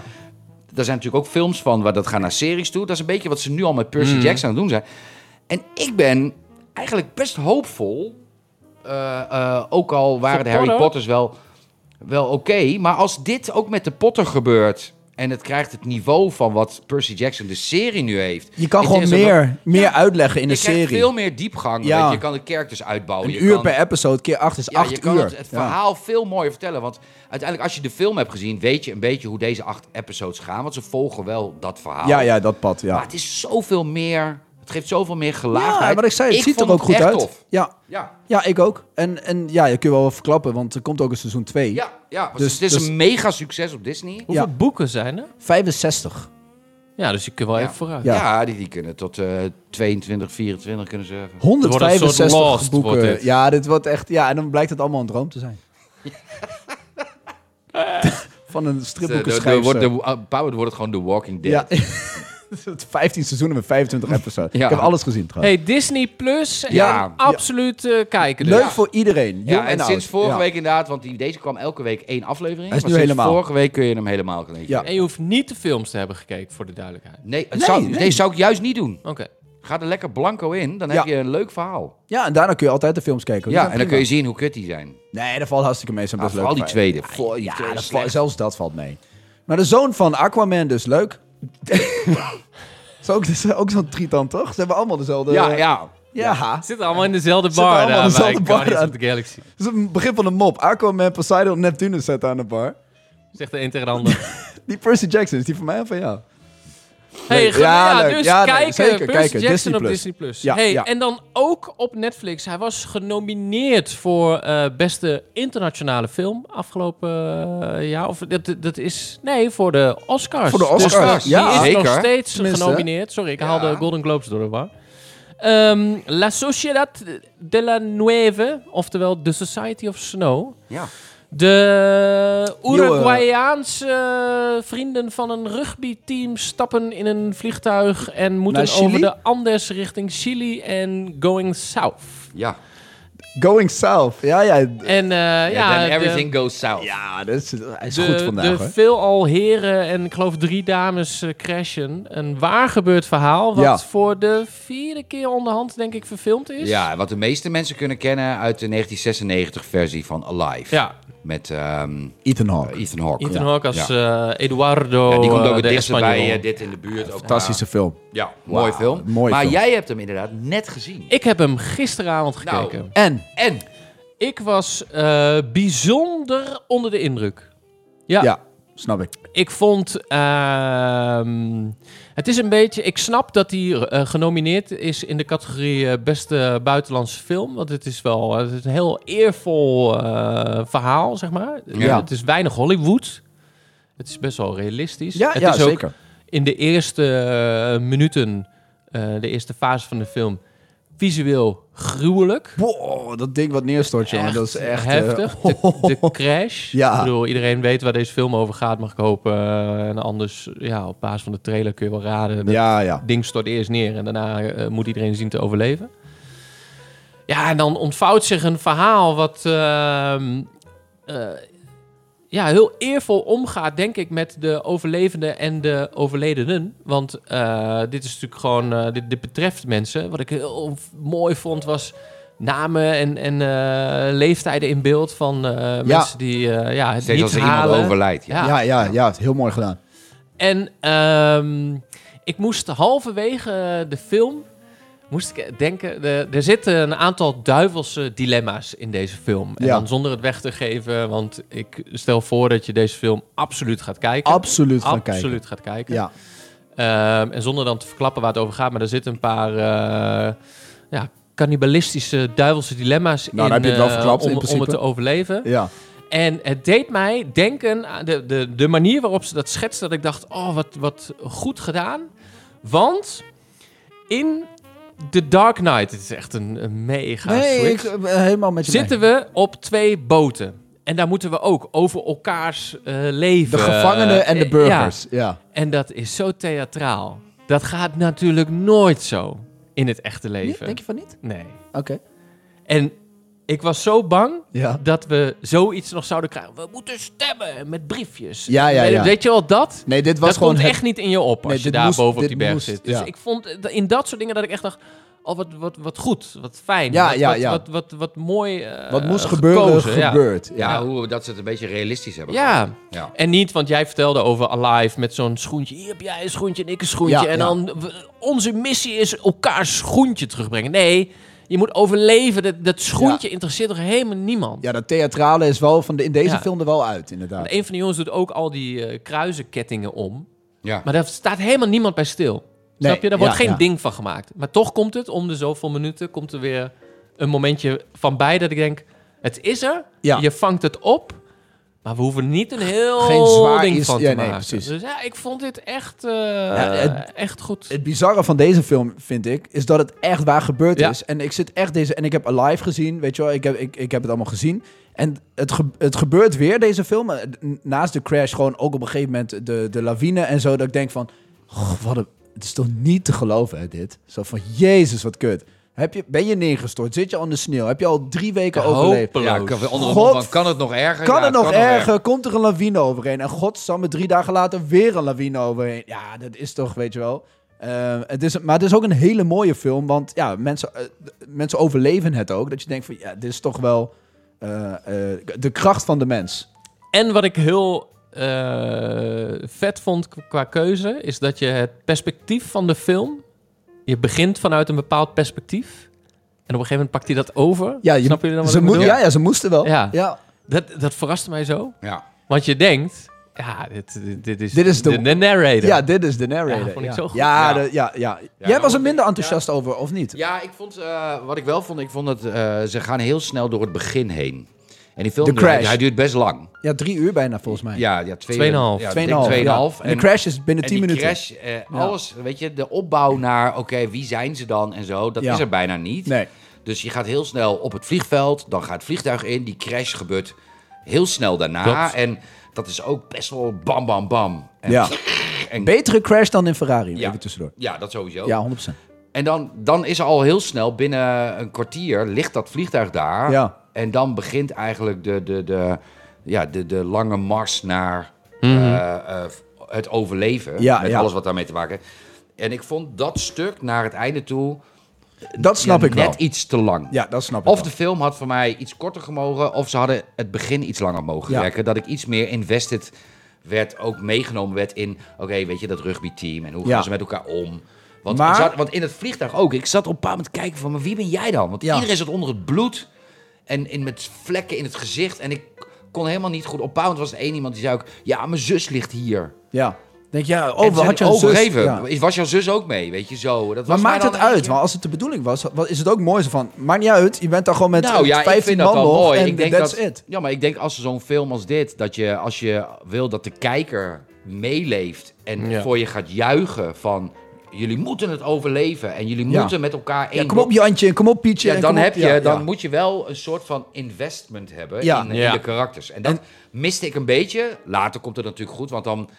S4: Daar zijn natuurlijk ook films van waar dat gaat naar series toe. Dat is een beetje wat ze nu al met Percy
S3: Hmm.
S4: Jackson aan het doen zijn. En ik ben eigenlijk best hoopvol. eh, eh, ook al waren de Harry
S2: Potter?
S4: Potters wel, wel oké. maar als dit ook met de Potter gebeurt. En het krijgt het niveau van wat Percy Jackson de serie nu heeft.
S3: Je kan
S4: Het
S3: gewoon
S4: is een-
S3: meer, meer uitleggen in de
S4: je krijgt
S3: serie.
S4: veel meer diepgang.
S3: Ja.
S4: weet je. je kan de characters uitbouwen.
S3: Een
S4: je
S3: uur
S4: kan-
S3: per episode, keer acht is
S4: ja, je
S3: acht
S4: kan
S3: uur.
S4: Het, het
S3: Ja.
S4: verhaal veel mooier vertellen. Want uiteindelijk, als je de film hebt gezien, weet je een beetje hoe deze acht episodes gaan. Want ze volgen wel dat verhaal.
S3: Ja, ja, dat pad, ja.
S4: Maar het is zoveel meer. Het geeft zoveel meer gelaagdheid.
S3: Ja, wat ik zei, het ziet
S4: vond
S3: er ook goed
S4: echt
S3: uit.
S4: tof.
S3: Ja.
S4: Ja,
S3: ja, ik ook. En, en ja, je kunt wel wat verklappen, want er komt ook een seizoen 2.
S4: ja, ja. want
S3: Dus-
S4: het is
S3: dus-
S4: een mega succes op Disney.
S2: Hoeveel
S3: Ja.
S2: boeken zijn er?
S3: 65.
S2: Ja, dus je kunt wel
S4: Ja.
S2: even vooruit.
S3: Ja.
S4: Ja, die, die kunnen tot eh 22, 24 kunnen surfen.
S2: Het wordt een soort
S3: 165
S2: Lost,
S3: boeken.
S2: wordt dit.
S3: Ja, dit wordt echt. Ja, en dan blijkt het allemaal een droom te zijn. Van een
S4: De, de,
S3: stripboekenschrijver.
S4: wordt de, uh, Powered wordt het gewoon The Walking Dead.
S3: ja. Het 15 seizoenen met 25 episodes.
S4: Ja.
S3: Ik heb alles gezien trouwens.
S2: Hey, Disney Plus.
S4: Ja.
S2: Ja. Absoluut eh, kijken. dus.
S3: Leuk
S4: Ja.
S3: voor iedereen. Jong
S4: Ja,
S3: en,
S4: en
S3: oud.
S4: sinds vorige
S3: Ja.
S4: week inderdaad, want die, deze kwam elke week één aflevering.
S3: Hij is
S4: maar
S3: nu
S4: sinds
S3: helemaal.
S4: Vorige week kun je hem helemaal kijken.
S3: Ja.
S2: En je hoeft niet de films te hebben gekeken, voor de duidelijkheid.
S4: Nee, het
S3: Nee,
S4: zou,
S3: nee.
S4: nee. zou ik juist niet doen.
S2: Oké.
S4: Ga er lekker blanco in, dan
S3: Ja.
S4: heb je een leuk verhaal.
S3: Ja, en daarna kun je altijd de films kijken. Die
S4: ja, en
S3: zijn
S4: dan kun je
S3: prima.
S4: zien hoe kut die zijn.
S3: Nee, dat valt hartstikke mee. Zijn
S4: Ah,
S3: best leuk.
S4: vooral die
S3: vijf.
S4: tweede. Vooral die
S3: Ja,
S4: tweede
S3: dat
S4: is
S3: valt-
S4: slecht.
S3: zelfs dat valt mee. Maar de zoon van Aquaman dus, leuk. is ook, is ook zo'n tritan, toch? Ze hebben allemaal dezelfde...
S4: Ja, ja.
S3: ja.
S2: Zit allemaal in dezelfde
S3: Zitten
S2: bar
S3: allemaal
S2: daar
S3: in dezelfde bar
S2: bij Guardians
S3: aan.
S2: of the Galaxy.
S3: Dat is een begin van een mop. Aquaman, Poseidon, Neptunus zetten aan de bar.
S2: Zegt de een tegen de ander.
S3: Die Percy Jackson, is die van mij of van jou?
S2: Hey,
S3: Leuk.
S2: ge- ja,
S3: Ja, leuk.
S2: dus
S3: Ja, nee,
S2: kijken.
S3: zeker
S2: Percy
S3: kijken.
S2: Jackson
S3: Disney
S2: op
S3: Plus.
S2: Disney+. Plus.
S3: Ja,
S2: hey,
S3: ja.
S2: En dan ook op Netflix. Hij was genomineerd voor eh, beste internationale film afgelopen eh, jaar. Of dat, dat is... Nee, voor de Oscars.
S3: Voor de
S2: Dus
S3: Oscars, ja.
S2: Die is nog
S4: Zeker.
S2: steeds
S3: Tenminste.
S2: genomineerd. Sorry, ik
S4: Ja.
S2: haal de Golden Globes door de war. Ehm, La Sociedad de la Nueve, oftewel The Society of Snow...
S4: ja.
S2: De Uruguayaanse eh, vrienden van een rugbyteam stappen in een vliegtuig en moeten
S3: Naar Chili?
S2: over de Andes richting Chili en going south.
S4: ja.
S3: Going South. Ja, ja.
S2: En eh,
S4: ja
S2: ja, eh,
S4: then
S2: de-
S4: everything goes south.
S3: Ja, dat is, hij is
S2: de,
S3: goed vandaag,
S2: de
S3: hoor.
S2: veelal heren en ik geloof drie dames eh, crashen. Een waar gebeurd verhaal wat
S3: Ja.
S2: voor de vierde keer onderhand denk ik verfilmd is.
S4: Ja, wat de meeste mensen kunnen kennen uit de 1996-versie van Alive.
S2: Ja,
S4: Met ehm,
S3: Ethan Hawke.
S4: Ethan Hawke.
S2: Ethan
S4: Ja.
S2: Hawke als
S4: Ja.
S2: eh, Eduardo.
S4: Ja, die komt
S2: eh,
S4: ook het
S2: de
S4: dichtst bij
S2: Espanol.
S4: eh, dit in de buurt. Ook
S3: Fantastische film.
S4: Ja, mooie film.
S3: mooie
S4: maar
S3: film.
S4: jij hebt hem inderdaad net gezien.
S2: Ik heb hem gisteravond
S4: Nou,
S2: gekeken.
S3: En?
S4: En?
S2: Ik was eh, bijzonder onder de indruk. Ja,
S3: Ja. snap ik.
S2: ik vond. ehm, het is een beetje. Ik snap dat hij eh, genomineerd is in de categorie eh, beste buitenlandse film. Want het is wel eh, het is een heel eervol eh, verhaal, zeg maar.
S4: Ja.
S2: Het is weinig Hollywood. Het is best wel realistisch.
S3: Ja,
S2: het
S3: ja
S2: is ook
S3: zeker.
S2: in de eerste eh, minuten, eh, de eerste fase van de film, visueel gruwelijk.
S3: Wow, dat ding wat neerstort, jongen.
S2: Echt
S3: Dat is echt... eh,
S2: heftig. De, de crash.
S3: Ja.
S2: Ik bedoel, iedereen weet waar deze film over gaat, mag ik hopen. Eh, en anders, ja, op basis van de trailer kun je wel raden. Dat
S3: ja, ja.
S2: ding stort eerst neer en daarna eh, moet iedereen zien te overleven. Ja, en dan ontvouwt zich een verhaal wat ehm, eh, ja, heel eervol omgaat, denk ik, met de overlevenden en de overledenen. Want eh, dit is natuurlijk gewoon, eh, dit, dit betreft mensen. Wat ik heel v- mooi vond was namen en, en eh, leeftijden in beeld van eh, mensen die eh, ja, het
S4: Steeds
S2: niet
S4: als er iemand
S2: halen.
S4: overlijdt.
S2: Ja.
S4: Ja.
S3: Ja, ja, ja. het is Heel mooi gedaan.
S2: En ehm, ik moest halverwege eh, de film. Moest ik denken, de- er zitten een aantal duivelse dilemma's in deze film. En
S3: Ja.
S2: dan zonder het weg te geven, want ik stel voor dat je deze film absoluut gaat kijken.
S3: Absoluut gaan kijken.
S2: Absoluut gaat kijken.
S3: Ja.
S2: Ehm, en zonder dan te verklappen waar het over gaat, maar er zitten een paar eh ja, cannibalistische duivelse dilemma's in.
S3: Nou, daar heb je het wel
S2: eh,
S3: verklapt, in
S2: om, om
S3: principe.
S2: het te overleven.
S3: Ja.
S2: En het deed mij denken aan de, de, de manier waarop ze dat schetste. Dat ik dacht, oh, wat, wat goed gedaan. Want in The Dark Knight, het is echt een, een mega
S3: Nee, ik,
S2: switch.
S3: eh, helemaal met je
S2: Zitten we op twee boten. En daar moeten we ook over elkaars eh, leven.
S3: De gevangenen en de
S2: Eh, ja.
S3: burgers. Ja.
S2: En dat is zo theatraal. Dat gaat natuurlijk nooit zo in het echte
S3: Nee,
S2: leven.
S3: Denk je van niet?
S2: Nee.
S3: Oké.
S2: En Ik was zo bang
S3: Ja.
S2: dat we zoiets nog zouden krijgen. We moeten stemmen met briefjes.
S3: Ja, ja,
S2: Weet-
S3: ja.
S2: Weet je wel, dat,
S3: Nee, dit was
S2: dat
S3: gewoon
S2: komt
S3: het-
S2: echt niet in je op als
S3: Nee,
S2: je
S3: dit
S2: daar
S3: moest-
S2: boven op
S3: dit
S2: die berg
S3: moest,
S2: zit. Dus
S3: ja.
S2: ik vond d- in dat soort dingen dat ik echt dacht... Oh, wat, wat, wat goed, wat fijn,
S3: Ja,
S2: wat,
S3: ja,
S2: wat,
S3: ja.
S2: Wat, wat, wat mooi eh,
S3: Wat moest gebeuren,
S2: gekozen, ja.
S3: gebeurt. Ja.
S4: Ja, hoe we dat ze het een beetje realistisch hebben.
S2: Ja.
S4: Ja.
S2: En niet, want jij vertelde over Alive met zo'n schoentje. Hier heb jij een schoentje en ik een schoentje.
S3: Ja,
S2: en
S3: ja.
S2: dan, we- onze missie is elkaars schoentje terugbrengen. Nee, je moet overleven. Dat, dat schoentje interesseert toch helemaal niemand?
S3: Ja, dat theatrale is wel van de, in deze
S2: Ja.
S3: film er wel uit, inderdaad.
S2: En een van de jongens doet ook al die eh, kruisenkettingen om.
S4: Ja.
S2: Maar daar staat helemaal niemand bij stil.
S3: Nee,
S2: Snap je? Daar
S3: ja,
S2: wordt geen
S3: ja.
S2: ding van gemaakt. Maar toch komt het, om de zoveel minuten, komt er weer een momentje van bij dat ik denk, het is er,
S3: Ja.
S2: je vangt het op, maar we hoeven niet een heel
S3: Geen zwaar
S2: ding
S3: iets-
S2: van
S3: ja,
S2: te
S3: nee,
S2: maken.
S3: precies.
S2: Dus ja, ik vond dit echt, eh,
S3: het-
S2: echt goed.
S3: Het bizarre van deze film, vind ik, is dat het echt waar gebeurd
S2: Ja.
S3: is. En ik zit echt deze. En ik heb Alive gezien, weet je wel. Ik heb, ik, ik heb het allemaal gezien. En het, ge- het gebeurt weer, deze film. Eh, n- Naast de crash, gewoon ook op een gegeven moment de, de lawine en zo. Dat ik denk van. "Goh, wat een, het is toch niet te geloven, hè, dit? Zo van, jezus, wat kut. Heb je, ben je neergestort? Zit je al in de sneeuw? Heb je al drie weken overleefd?
S2: Hopeloos.
S4: Ja, ik heb een andere
S3: God-
S4: mond van, kan het nog erger?
S3: Kan
S4: Ja,
S3: het nog erger?
S4: erger.
S3: Komt er een lawine overheen? En godsamme, drie dagen later weer een lawine overheen. Ja, dat is toch, weet je wel. Eh, het is, maar het is ook een hele mooie film, want ja, mensen, eh, d- mensen overleven het ook. Dat je denkt van, ja, dit is toch wel eh, eh, de kracht van de mens.
S2: En wat ik heel eh, vet vond k- qua keuze, is dat je het perspectief van de film. Je begint vanuit een bepaald perspectief. En op een gegeven moment pakt hij dat over.
S3: Ja, je-
S2: Snap je dan wat
S3: Ze
S2: ik
S3: moe-
S2: bedoel?
S3: ja, ja, ze moesten wel.
S2: Ja.
S3: Ja.
S2: Dat, dat verraste mij zo.
S4: Ja.
S2: Want je denkt, ja, dit, dit, dit is,
S3: Dit is de-
S2: narrator.
S3: Ja, dit is de narrator.
S2: Ja, vond ik
S3: ja.
S2: zo goed.
S3: Ja,
S4: Ja.
S3: de- ja, ja. Jij
S4: nou,
S3: was er minder
S4: ja.
S3: enthousiast over, of niet?
S4: ja, ik vond, eh, wat ik wel vond, ik vond dat eh, ze gaan heel snel door het begin heen. En die film,
S3: De crash.
S4: Hij, hij duurt best lang.
S3: Ja, drie uur bijna, volgens mij.
S4: Ja, ja, twee,
S2: Tweeënhalf.
S4: Ja,
S3: Tweeënhalf.
S4: dik tweeënhalf.
S3: ja. En de crash is binnen
S4: en
S3: tien
S4: die
S3: minuten.
S4: crash, eh, alles, weet je, de opbouw naar, oké, wie zijn ze dan en zo, dat
S3: Ja.
S4: is er bijna niet.
S3: Nee.
S4: Dus je gaat heel snel op het vliegveld, dan gaat het vliegtuig in, die crash gebeurt heel snel daarna.
S2: Klopt.
S4: En dat is ook best wel bam, bam, bam. En
S3: Ja.
S4: En-
S3: Betere crash dan in Ferrari,
S4: Ja. Oh.
S3: even tussendoor.
S4: Ja, dat sowieso.
S3: Ja, 100%.
S4: En dan, dan is er al heel snel, binnen een kwartier, ligt dat vliegtuig daar.
S3: Ja.
S4: En dan begint eigenlijk de, de, de, ja, de, de lange mars naar eh, eh, het overleven.
S3: Ja,
S4: met
S3: ja.
S4: alles wat daarmee te maken heeft. En ik vond dat stuk naar het einde toe
S3: Dat snap
S4: ja,
S3: ik
S4: net
S3: wel.
S4: iets te lang.
S3: Ja, dat snap ik
S4: Of
S3: wel.
S4: de film had voor mij iets korter gemogen, of ze hadden het begin iets langer mogen
S3: Ja.
S4: werken. Dat ik iets meer invested werd, ook meegenomen werd in, oké, weet je, dat rugbyteam en hoe
S3: Ja.
S4: gaan ze met elkaar om. Want,
S3: Maar-
S4: ik zat- want in het vliegtuig ook, ik zat op een bepaald moment te kijken van, maar wie ben jij dan? Want
S3: Ja.
S4: iedereen zat onder het bloed en in, met vlekken in het gezicht en ik kon helemaal niet goed op. een bepaald moment was er één iemand die zei ook, ja, mijn zus ligt hier.
S3: Ja. Denk ja,
S4: En
S3: oh,
S4: ze
S3: had je een zus?
S4: overgeven.
S3: Ja.
S4: Was jouw zus ook mee, weet je, zo. Dat
S3: Maar
S4: was mij
S3: maakt
S4: dan
S3: het
S4: een
S3: uit?
S4: beetje-
S3: Want als het de bedoeling was, wat- is het ook mooi zo van... Maakt niet uit, je bent daar gewoon met
S4: nou ja, ik
S3: 15
S4: vind
S3: man
S4: dat wel
S3: nog
S4: mooi.
S3: en
S4: Ik denk
S3: that's
S4: dat,
S3: it.
S4: Ja, maar ik denk als zo'n film als dit, dat je als je wil dat de kijker meeleeft en
S2: Ja.
S4: voor je gaat juichen van jullie moeten het overleven en jullie
S3: Ja.
S4: moeten met elkaar één
S3: Ja, kom
S4: blok-
S3: op Jantje en kom op Pietje.
S4: Ja,
S3: en
S4: dan
S3: kom op-
S4: heb je,
S3: ja,
S4: dan
S3: ja.
S4: moet je wel een soort van investment hebben
S3: Ja.
S4: in, in
S2: Ja.
S4: de karakters. En dat miste ik een beetje. Later komt het natuurlijk goed, want dan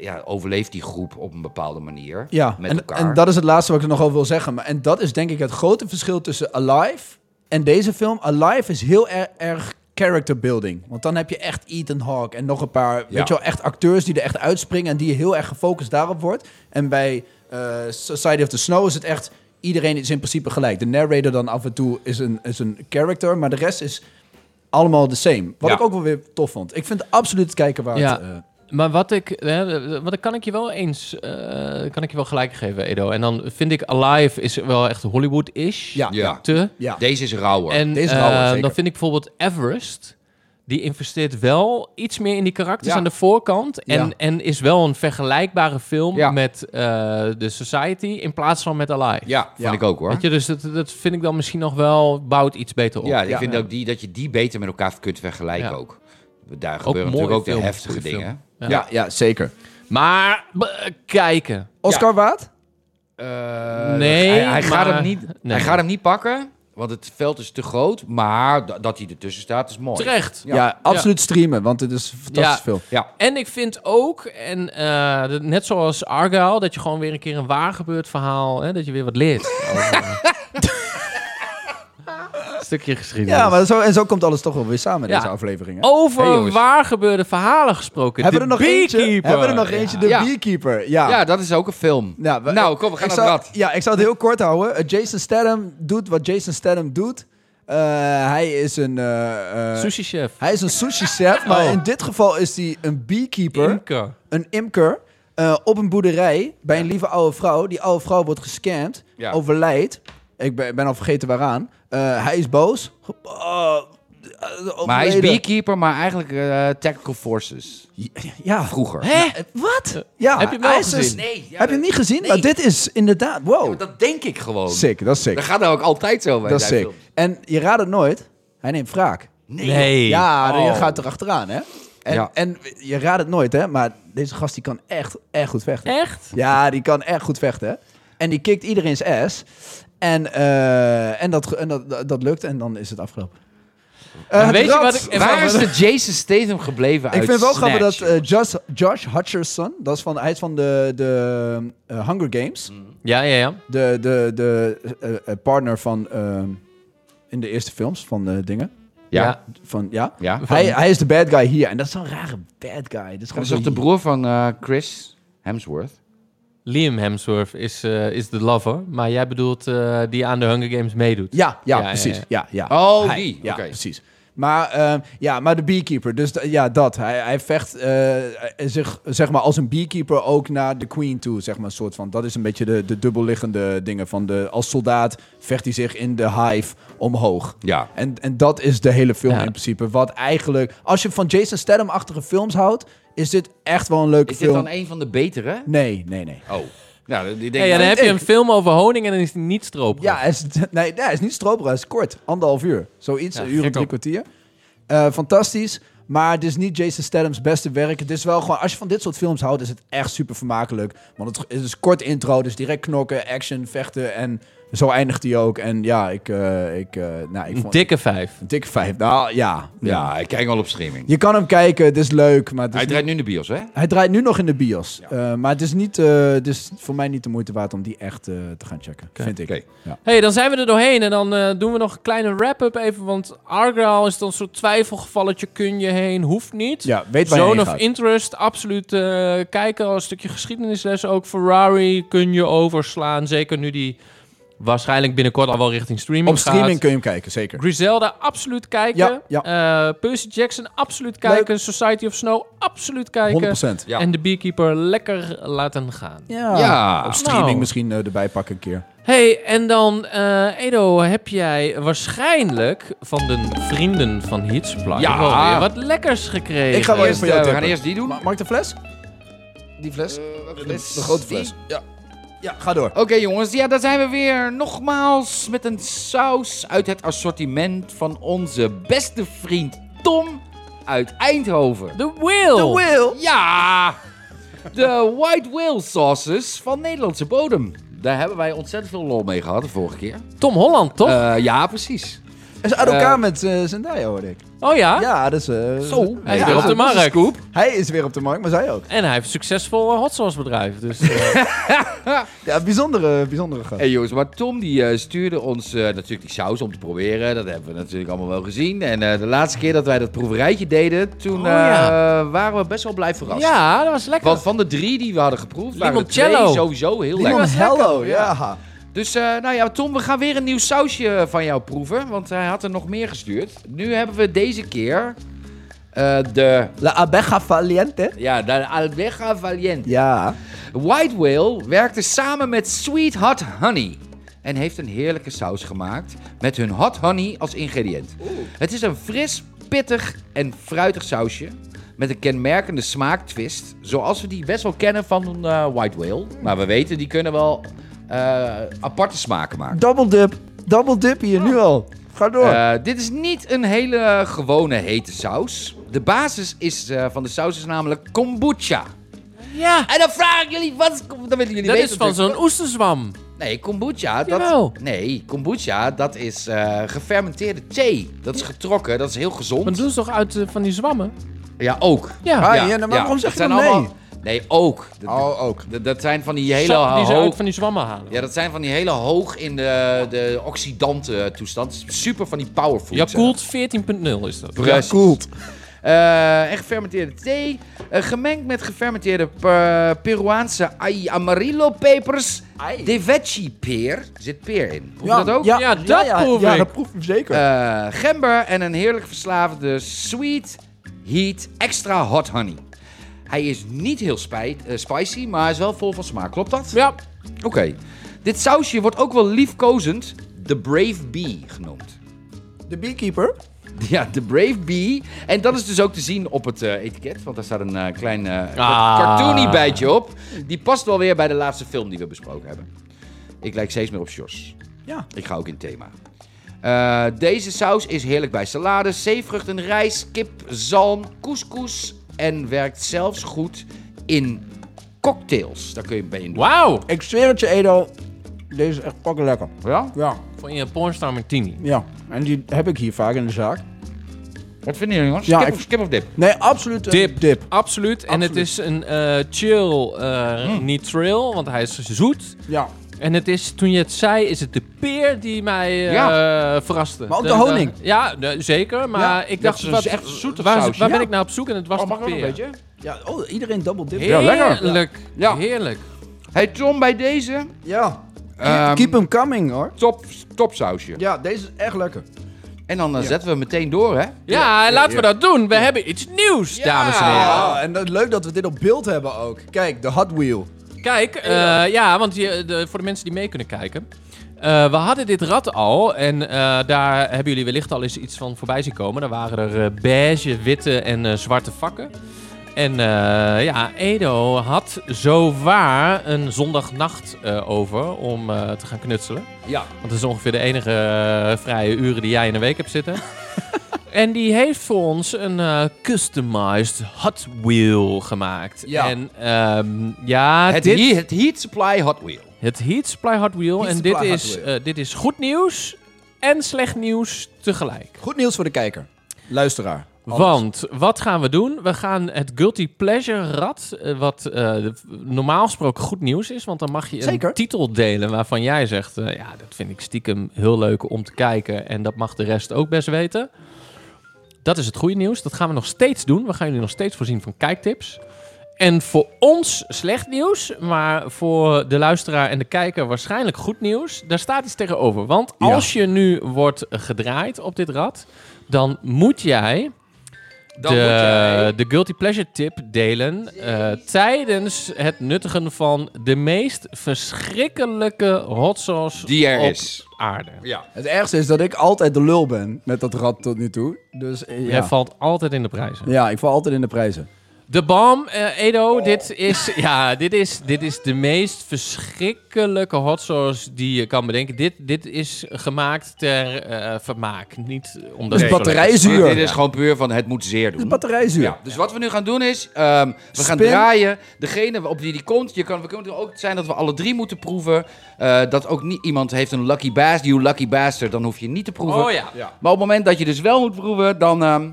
S4: ja, overleeft die groep op een bepaalde manier
S3: Ja,
S4: met
S3: en,
S4: elkaar.
S3: en dat is het laatste wat ik er nog over wil zeggen. Maar, en dat is denk ik het grote verschil tussen Alive en deze film. Alive is heel er- erg character building. Want dan heb je echt Ethan Hawke en nog een paar... Weet je wel, echt acteurs die er echt uitspringen... en die heel erg gefocust daarop wordt. En bij eh, Society of the Snow is het echt... Iedereen is in principe gelijk. De narrator dan af en toe is een, is een character... maar de rest is allemaal the same. Wat
S4: Ja.
S3: ik ook wel weer tof vond. Ik vind het absoluut het kijken waard.
S2: Ja.
S3: eh.
S2: Maar wat ik, hè, wat ik- kan ik je wel eens, eh, kan ik je wel gelijk geven, Edo. En dan vind ik Alive is wel echt Hollywood-ish.
S3: Ja.
S4: ja.
S2: Te.
S3: ja.
S4: Deze is rauwer.
S2: En
S3: Deze is rauwer,
S2: eh,
S3: zeker.
S2: dan vind ik bijvoorbeeld Everest. Die investeert wel iets meer in die karakters
S4: Ja.
S2: aan de voorkant. En,
S3: Ja.
S2: en is wel een vergelijkbare film
S4: Ja.
S2: met eh The Society in plaats van met Alive.
S4: ja, vond
S3: Ja.
S4: ik ook hoor.
S2: Weet je, dus dat, dat vind ik dan misschien nog wel, bouwt iets beter op.
S4: Ja, ik
S3: Ja.
S4: vind
S3: Ja.
S4: ook die, dat je die beter met elkaar kunt vergelijken
S2: Ja.
S4: ook. Daar gebeuren
S2: mooie
S4: natuurlijk ook de
S2: film,
S4: heftige
S2: goede
S4: dingen.
S2: film.
S3: ja, ja, zeker.
S2: Maar, b- kijken.
S3: Oscar waard?
S4: Eh,
S2: Nee,
S4: hij, hij gaat
S2: maar-
S4: hem niet,
S2: nee.
S4: hij gaat hem niet pakken, want het veld is te groot. Maar da- dat hij ertussen staat is mooi.
S2: Terecht.
S3: Ja, absoluut streamen, want het is een fantastisch
S2: Ja.
S3: film.
S4: Ja,
S2: En ik vind ook, en eh, dat- net zoals Argyle, dat je gewoon weer een keer een waar gebeurd verhaal, hè, dat je weer wat leert. Over- Stukje geschiedenis.
S3: Ja, Oh, maar zo, en zo komt alles toch wel weer samen in
S2: Ja.
S3: deze aflevering. Hè?
S2: Over
S4: Hey, jongens.
S2: waar gebeurde verhalen gesproken.
S3: Hebben we
S2: de
S3: er nog eentje?
S2: Beekeeper.
S3: Hebben we er nog eentje? De
S4: Ja.
S3: Beekeeper. Ja.
S4: Ja, dat is ook een film.
S3: Ja, we-
S4: nou, kom, we gaan
S3: ik
S4: naar het
S3: zou-
S4: rad.
S3: Ja, ik zal het heel kort houden. Eh, Jason Statham doet wat Jason Statham doet. Eh, hij is een... eh, eh,
S2: Sushi chef.
S3: hij is een sushi chef, maar
S2: Oh.
S3: in dit geval is hij een beekeeper,
S2: Imker.
S3: een imker, eh, op een boerderij bij een lieve oude vrouw. Die oude vrouw wordt gescamd,
S4: Ja.
S3: overlijdt. Ik ben, ben al vergeten waaraan. Eh, hij is boos. Ge- oh, eh,
S4: Maar hij is
S3: overleden.
S4: beekeeper, maar eigenlijk eh, Tactical Forces.
S3: Ja,
S4: Vroeger.
S2: Hè?
S3: wat? Ja,
S2: Heb je hem wel
S3: hij is een-
S2: gezien?
S4: Nee, ja,
S3: heb je hem niet gezien?
S4: Nee.
S3: Maar dit is inderdaad,
S4: Ja,
S3: wow.
S4: maar dat denk ik gewoon.
S3: Sick, dat is sick.
S4: Dat gaat nou ook altijd zo bij
S3: Dat is
S4: zijn
S3: sick.
S4: films.
S3: En je raadt het nooit, hij neemt wraak.
S4: Nee.
S2: Nee.
S3: Ja,
S4: Oh.
S3: je gaat erachteraan, hè? En,
S4: Ja.
S3: en je raadt het nooit, hè? Maar deze gast die kan echt, echt goed vechten.
S2: Echt?
S3: Ja, die kan echt goed vechten. hè? En die kikt iedereen's ass. En, eh, en, dat, en dat, dat, dat lukt en dan is het afgelopen. Eh, het
S2: weet je
S3: rad.
S2: wat ik-
S4: Waar is de Jason Statham gebleven
S3: Ik
S4: uit
S3: vind wel
S4: Snatch,
S3: grappig dat
S4: joh?
S3: eh, Josh, Josh Hutcherson, dat is van, hij is van de, de eh, Hunger Games,
S2: Ja, ja, ja.
S3: de, de, de eh, eh, partner van ehm, in de eerste films van eh, dingen.
S4: Ja.
S2: Ja.
S3: Van, ja.
S4: Ja.
S3: Hij, hij is de bad guy hier. En dat is zo'n rare bad guy. Dat is
S4: Dat
S3: gewoon
S4: is toch
S3: zo'n-
S4: de broer van eh, Chris Hemsworth?
S2: Liam Hemsworth is, eh, is de lover. Maar jij bedoelt eh, die aan de Hunger Games meedoet.
S3: Ja, ja,
S2: Ja, ja,
S3: precies.
S2: ja.
S3: Ja, ja.
S4: Oh,
S3: Hij-
S4: die.
S3: Ja,
S4: Oké.
S3: precies. Maar, ehm, ja, maar de beekeeper, dus da- ja, dat. Hij, hij vecht eh, zich zeg maar, als een beekeeper ook naar de queen toe, zeg maar, soort van. Dat is een beetje de, de dubbelliggende dingen. Van de, als soldaat vecht hij zich in de hive omhoog.
S4: Ja.
S3: En, en dat is de hele film
S2: Ja.
S3: in principe. Wat eigenlijk, als je van Jason Statham-achtige films houdt, is dit echt wel een leuke
S4: Is dit
S3: film.
S4: dan een van de betere?
S3: Nee, nee, nee.
S4: Oh. Nou, die denk
S2: Hey, en dan heb je
S3: Ik-
S2: een film over honing en dan is die niet stroperig.
S3: Ja, hij is, nee, nee, hij is niet stroperig, hij is kort. Anderhalf uur. Zoiets,
S2: Ja,
S3: een uur
S2: gek
S3: en drie
S2: ook.
S3: kwartier. Eh, fantastisch. Maar het is niet Jason Statham's beste werk. Het is wel gewoon, als je van dit soort films houdt, is het echt super vermakelijk. Want het is een kort intro, dus direct knokken, action, vechten. En zo eindigt hij ook. En ja, ik, eh, ik, eh, nou, ik
S2: Een
S3: vond
S2: dikke vijf.
S3: een dikke vijf. Nou ja, ja.
S4: Ja, dus ik kijk al op streaming.
S3: Je kan hem kijken, het is leuk. Maar het is
S4: Hij
S3: niet-
S4: draait nu in de bios, hè?
S3: hij draait nu nog in de bios. Eh, maar het is, niet, eh, het is voor mij niet de moeite waard om die echt eh, te gaan checken, vind ik.
S4: Oké.
S3: Ja.
S2: hey, dan zijn we er doorheen en dan eh, doen we nog een kleine wrap-up even. Want Argyle is dan zo'n twijfelgevalletje, kun je heen, hoeft niet.
S3: ja, weet waar je
S2: Zone
S3: heen
S2: of
S3: gaat.
S2: Interest, absoluut eh, kijken. Een stukje geschiedenisles ook. Ferrari kun je overslaan. Zeker nu die waarschijnlijk binnenkort al wel richting streaming
S3: Op streaming
S2: gaat.
S3: kun je hem kijken, zeker.
S2: Griselda, absoluut kijken. Eh, Percy Jackson, absoluut
S3: Leuk.
S2: kijken. Society of Snow, absoluut kijken.
S3: 100%.
S4: Ja.
S2: En de Beekeeper lekker laten gaan.
S3: Ja.
S4: Ja.
S3: Op streaming
S2: Nou.
S3: misschien eh, erbij pakken een keer.
S2: Hey, en dan, eh, Edo, heb jij waarschijnlijk van de vrienden van Hitsplay
S4: Ja.
S2: wel weer wat lekkers gekregen.
S3: Ik ga wel even
S4: Eerst,
S3: voor jou
S4: eh, we gaan
S3: tippen.
S4: eerst die doen.
S3: Ma mag ik de fles? Die fles? de grote fles. Ja. ja, ga door.
S4: Oké jongens, ja, daar zijn we weer. Nogmaals met een saus uit het assortiment van onze beste vriend Tom uit Eindhoven.
S2: De
S3: Oh.
S2: Will.
S4: Ja! De White Whale sauces van Nederlandse bodem. Daar hebben wij ontzettend veel lol mee gehad de vorige keer.
S2: Tom Holland, toch?
S4: Eh, ja, precies.
S3: Hij is uit elkaar
S4: Eh,
S3: met eh Zendaya, hoorde ik.
S2: oh ja?
S3: Ja, dat is... eh,
S4: Zo,
S2: Hij is
S3: ja,
S2: weer op de
S3: dat is-
S2: markt.
S3: Hij is weer op de markt, maar zij ook.
S2: En hij heeft een succesvol eh, hot sauce bedrijf. Dus, eh,
S3: Ja, bijzondere, bijzondere gast.
S4: Hey jongens, maar Tom die eh, stuurde ons eh, natuurlijk die saus om te proberen. Dat hebben we natuurlijk allemaal wel gezien. En eh, de laatste keer dat wij dat proeverijtje deden, toen
S2: Oh, ja.
S4: eh, waren we best wel blij verrast.
S2: ja, dat was lekker.
S4: Want van de drie die we hadden geproefd, waren er
S2: Limoncello.
S4: twee sowieso heel
S3: Limon
S4: lekker.
S3: Hello, ja.
S4: Dus eh, nou ja, Tom, we gaan weer een nieuw sausje van jou proeven. Want hij had er nog meer gestuurd. Nu hebben we deze keer eh, de...
S3: La abeja valiente.
S4: Ja, de Alveja Valiente.
S3: Ja.
S4: White Whale werkte samen met Sweet Hot Honey. En heeft een heerlijke saus gemaakt met hun hot honey als ingrediënt. Het is een fris, pittig en fruitig sausje. Met een kenmerkende smaaktwist. Zoals we die best wel kennen van eh, White Whale. Maar we weten, die kunnen wel eh, aparte smaken maken.
S3: Double dip. Double dip hier, nu al. Ga door.
S4: Eh, dit is niet een hele eh, gewone hete saus. De basis is, eh, van de saus is namelijk kombucha.
S2: ja,
S4: En dan vraag ik jullie, wat is kom- Dat willen jullie
S2: dat
S4: weten dus
S2: is van
S4: natuurlijk.
S2: zo'n oesterzwam.
S4: Nee, kombucha,
S2: Jawel.
S4: dat... Nee, kombucha, dat is eh, gefermenteerde thee. Dat is getrokken, dat is heel
S2: Maar
S4: gezond.
S2: doen ze toch uit eh, van die zwammen?
S4: Ja, ook.
S2: Ja.
S3: Ah, ja, maar waarom zeg
S4: dat
S3: je
S4: zijn
S3: dan nee?
S4: allemaal- Nee, ook. Dat,
S3: Oh, ook.
S4: dat, dat zijn van die hele
S2: Sap die ze
S4: hoog...
S2: uit van die zwammen halen.
S4: Ja, dat zijn van die hele hoog in de, de oxidanten toestand. Super van die powerful.
S2: Ja, koelt 14.0 is dat.
S4: Precies.
S3: Koelt.
S4: Eh, en gefermenteerde thee. eh, gemengd met gefermenteerde per- Peruaanse ay amarillo pepers.
S3: Ai.
S4: De veggie peer. Er zit peer in. Proef je
S3: Ja,
S4: dat ook?
S2: Ja, dat proef
S3: ja,
S2: ik.
S3: dat proef ik zeker.
S4: Eh, gember en een heerlijk verslavende sweet heat extra hot honey. Hij is niet heel spijt, eh, spicy, maar hij is wel vol van smaak. Klopt dat?
S2: Ja,
S4: Oké. Dit sausje wordt ook wel liefkozend de Brave Bee genoemd.
S3: de beekeeper.
S4: Ja, de Brave Bee. En dat is dus ook te zien op het eh, etiket, want daar staat een eh, klein eh,
S2: Ah.
S4: cartoony bijtje op. Die past wel weer bij de laatste film die we besproken hebben. Ik lijk steeds meer op Sjors.
S3: Ja.
S4: Ik ga ook in thema. Eh, deze saus is heerlijk bij salades, zeevruchten, rijst, kip, zalm, couscous en werkt zelfs goed in cocktails. Daar kun je bij in doen.
S2: wauw.
S3: Ik zweer het je, Edo. Deze is echt pakken lekker.
S4: Ja?
S3: Ja,
S2: Van je pornstar martini.
S3: ja. En die heb ik hier vaak in de zaak.
S4: Wat vinden jullie jongens?
S3: Ja,
S4: skip,
S3: ik-
S4: of, skip of dip?
S3: Nee, absoluut een
S2: Dip.
S3: dip.
S2: Absoluut. En het is een eh, chill, eh niet trail, want hij is zoet.
S3: Ja.
S2: En het is, toen je het zei, is het de peer die mij eh, verraste.
S3: Maar ook de honing.
S2: ja, de- zeker. Maar
S3: Ja,
S2: ik
S4: dat
S2: dacht,
S4: is
S2: wat,
S4: echt zoete
S2: waar,
S4: saus,
S2: waar
S4: ja. Oh,
S2: ben ik nou op zoek? En het was de peer.
S3: ja. Oh, iedereen double dip.
S2: Heerlijk.
S4: lekker.
S2: Heerlijk.
S4: Ja.
S2: Heerlijk.
S4: Hey Tom, bij deze
S3: Ja.
S4: Ehm,
S3: Keep them coming, hoor.
S4: top, topsausje.
S3: Ja, deze is echt lekker.
S4: En dan eh, zetten we meteen door, hè?
S2: Ja, laten we dat doen. We hebben iets nieuws,
S4: Ja.
S2: dames en heren.
S3: Ja, Ah, en dat, leuk dat we dit op beeld hebben ook. Kijk, de Hot Wheel.
S2: Kijk, eh, ja, want je, de- voor de mensen die mee kunnen kijken. eh, we hadden dit rad al en eh, daar hebben jullie wellicht al eens iets van voorbij zien komen. Daar waren er eh, beige, witte en eh, zwarte vakken. En eh, ja, Edo had zowaar een zondagnacht eh, over om eh, te gaan knutselen.
S4: Ja.
S2: Want dat is ongeveer de enige eh, vrije uren die jij in een week hebt zitten. en die heeft voor ons een eh, customized Hot Wheel gemaakt.
S4: Ja.
S2: En ehm, ja,
S4: Het,
S2: dit,
S4: he- het Heat Supply Hot Wheel.
S2: het Heat Supply Hot Wheel.
S3: Heat
S2: en dit
S3: Supply Hot
S2: is,
S3: Wheel.
S2: eh, dit is goed nieuws en slecht nieuws tegelijk.
S3: Goed nieuws voor de kijker. Luisteraar.
S2: Want wat gaan we doen? We gaan het Guilty Pleasure Rad, eh, wat eh, de- normaal gesproken goed nieuws is, want dan mag je een
S3: Zeker.
S2: titel delen waarvan jij zegt, eh, ja, dat vind ik stiekem heel leuk om te kijken en dat mag de rest ook best weten. Dat is het goede nieuws. Dat gaan we nog steeds doen. We gaan jullie nog steeds voorzien van kijktips. En voor ons slecht nieuws, maar voor de luisteraar en de kijker waarschijnlijk goed nieuws. Daar staat iets tegenover. Want
S3: Ja.
S2: als je nu wordt gedraaid op dit rad, dan moet jij
S4: Dan
S2: de,
S4: moet jij...
S2: de guilty pleasure tip delen eh, tijdens het nuttigen van de meest verschrikkelijke hot sauce
S4: Die er
S2: op
S4: is.
S2: aarde.
S4: Ja.
S3: Het ergste is dat ik altijd de lul ben met dat rad tot nu toe. Dus eh,
S2: Jij
S3: ja.
S2: valt altijd in de prijzen.
S3: ja, ik val altijd in de prijzen.
S2: De bom, eh, Edo, dit, is, ja, dit, is, dit is de meest verschrikkelijke hot sauce die je kan bedenken. Dit, dit is gemaakt ter eh, vermaak, niet
S3: Dat
S2: omdat
S3: is
S2: het zo lekker
S3: batterijzuur.
S4: Dit
S3: Dat
S4: is gewoon puur van het moet zeer doen.
S3: is batterijzuur.
S4: Ja, dus wat we nu gaan doen is, ehm, we gaan
S3: Spin.
S4: draaien. Degene op die die komt, je kan, we kunnen er ook zijn dat we alle drie moeten proeven. Eh, dat ook niet iemand heeft een lucky bastard, you lucky bastard, dan hoef je niet te proeven.
S2: Oh ja.
S4: Maar op het moment dat je dus wel moet proeven, dan ehm,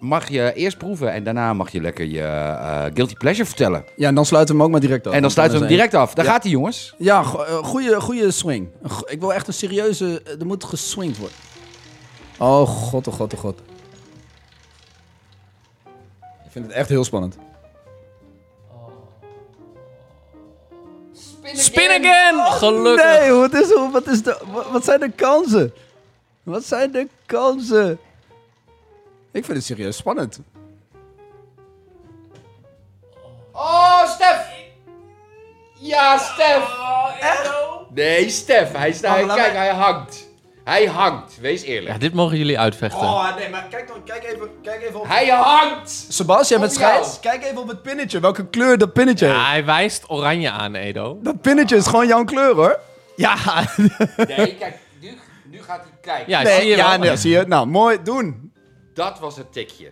S4: mag je eerst proeven. En daarna mag je lekker je eh, guilty pleasure vertellen.
S3: Ja, en dan sluiten we hem ook maar direct af.
S4: en dan
S3: Want
S4: sluiten we
S3: is
S4: hem direct af. Daar gaat hij jongens.
S3: Ja, go- eh, goeie, goeie swing. Een go- Ik wil echt een serieuze... eh, Er moet geswingd worden. Oh god, oh god, oh god. Ik vind het echt heel spannend.
S2: Spin again! Gelukkig.
S3: Oh, Nee, wat, is, wat, is de, wat, wat zijn de kansen? Wat zijn de kansen? Ik vind het serieus spannend.
S4: Oh, Stef! Ja, Stef! Oh, Nee, Stef, hij staat.
S3: laat
S4: kijk,
S3: me-
S4: hij hangt. Hij hangt, wees eerlijk.
S2: Ja, dit mogen jullie uitvechten.
S3: Oh, nee, maar kijk, dan, kijk, even, kijk even op...
S4: Hij hangt!
S3: Sebastian met
S4: Op jou.
S3: scheids, kijk even op het pinnetje. Welke kleur dat pinnetje heeft.
S2: Ja, hij wijst oranje aan, Edo.
S3: Dat pinnetje is gewoon jouw kleur, hoor. Ja,
S4: Nee, kijk, nu, nu gaat hij kijken.
S2: Ja,
S3: nee,
S2: zie je
S3: ja,
S2: wel?
S3: nee, zie je? Nou, mooi, doen.
S4: Dat was het tikje.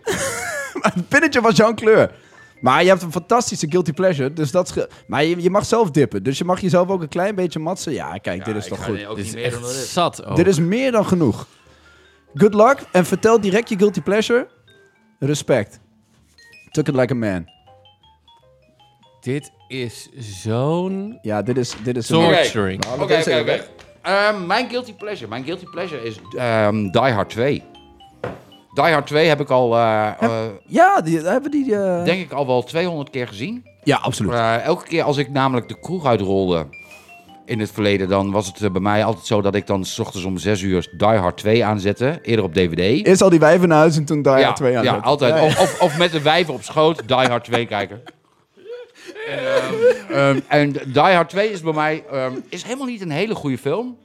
S3: Het pinnetje was jouw kleur. Maar je hebt een fantastische guilty pleasure, dus dat... is ge- Maar je, je mag zelf dippen, dus je mag jezelf ook een klein beetje matsen. Ja, kijk, dit is
S4: ik
S3: toch
S4: ga
S3: goed.
S4: Ook
S2: Dit is
S4: niet meer dan
S2: echt
S4: dat is.
S2: zat ook.
S3: Dit is meer dan genoeg. Good luck en vertel direct je guilty pleasure. Respect. Took it like a man.
S2: Dit is zo'n
S3: Ja, dit is, dit is
S2: Sorry.
S3: een...
S2: Torturing.
S3: Nou,
S4: Oké,
S3: dat
S4: oké,
S3: is er
S4: oké.
S3: weg.
S4: Ehm, Mijn guilty pleasure. Mijn guilty pleasure is ehm, Die Hard 2. Die Hard 2 heb ik al, eh, eh,
S3: Ja, die, daar hebben die... eh,
S4: denk ik al wel 200 keer gezien.
S3: Ja, absoluut.
S4: Eh, elke keer als ik namelijk de kroeg uitrolde in het verleden, dan was het eh, bij mij altijd zo dat ik dan s ochtends om 6 uur Die Hard 2 aanzette. Eerder op DVD.
S3: Eerst al die wijven naar huis en toen daar
S4: ja,
S3: twee aan.
S4: ja,
S3: zet.
S4: altijd.
S3: Ja, ja.
S4: Of, of, of met de wijven op schoot Die Hard 2 kijken. En, ehm, ehm, en Die Hard 2 is bij mij ehm, is helemaal niet een hele goede film.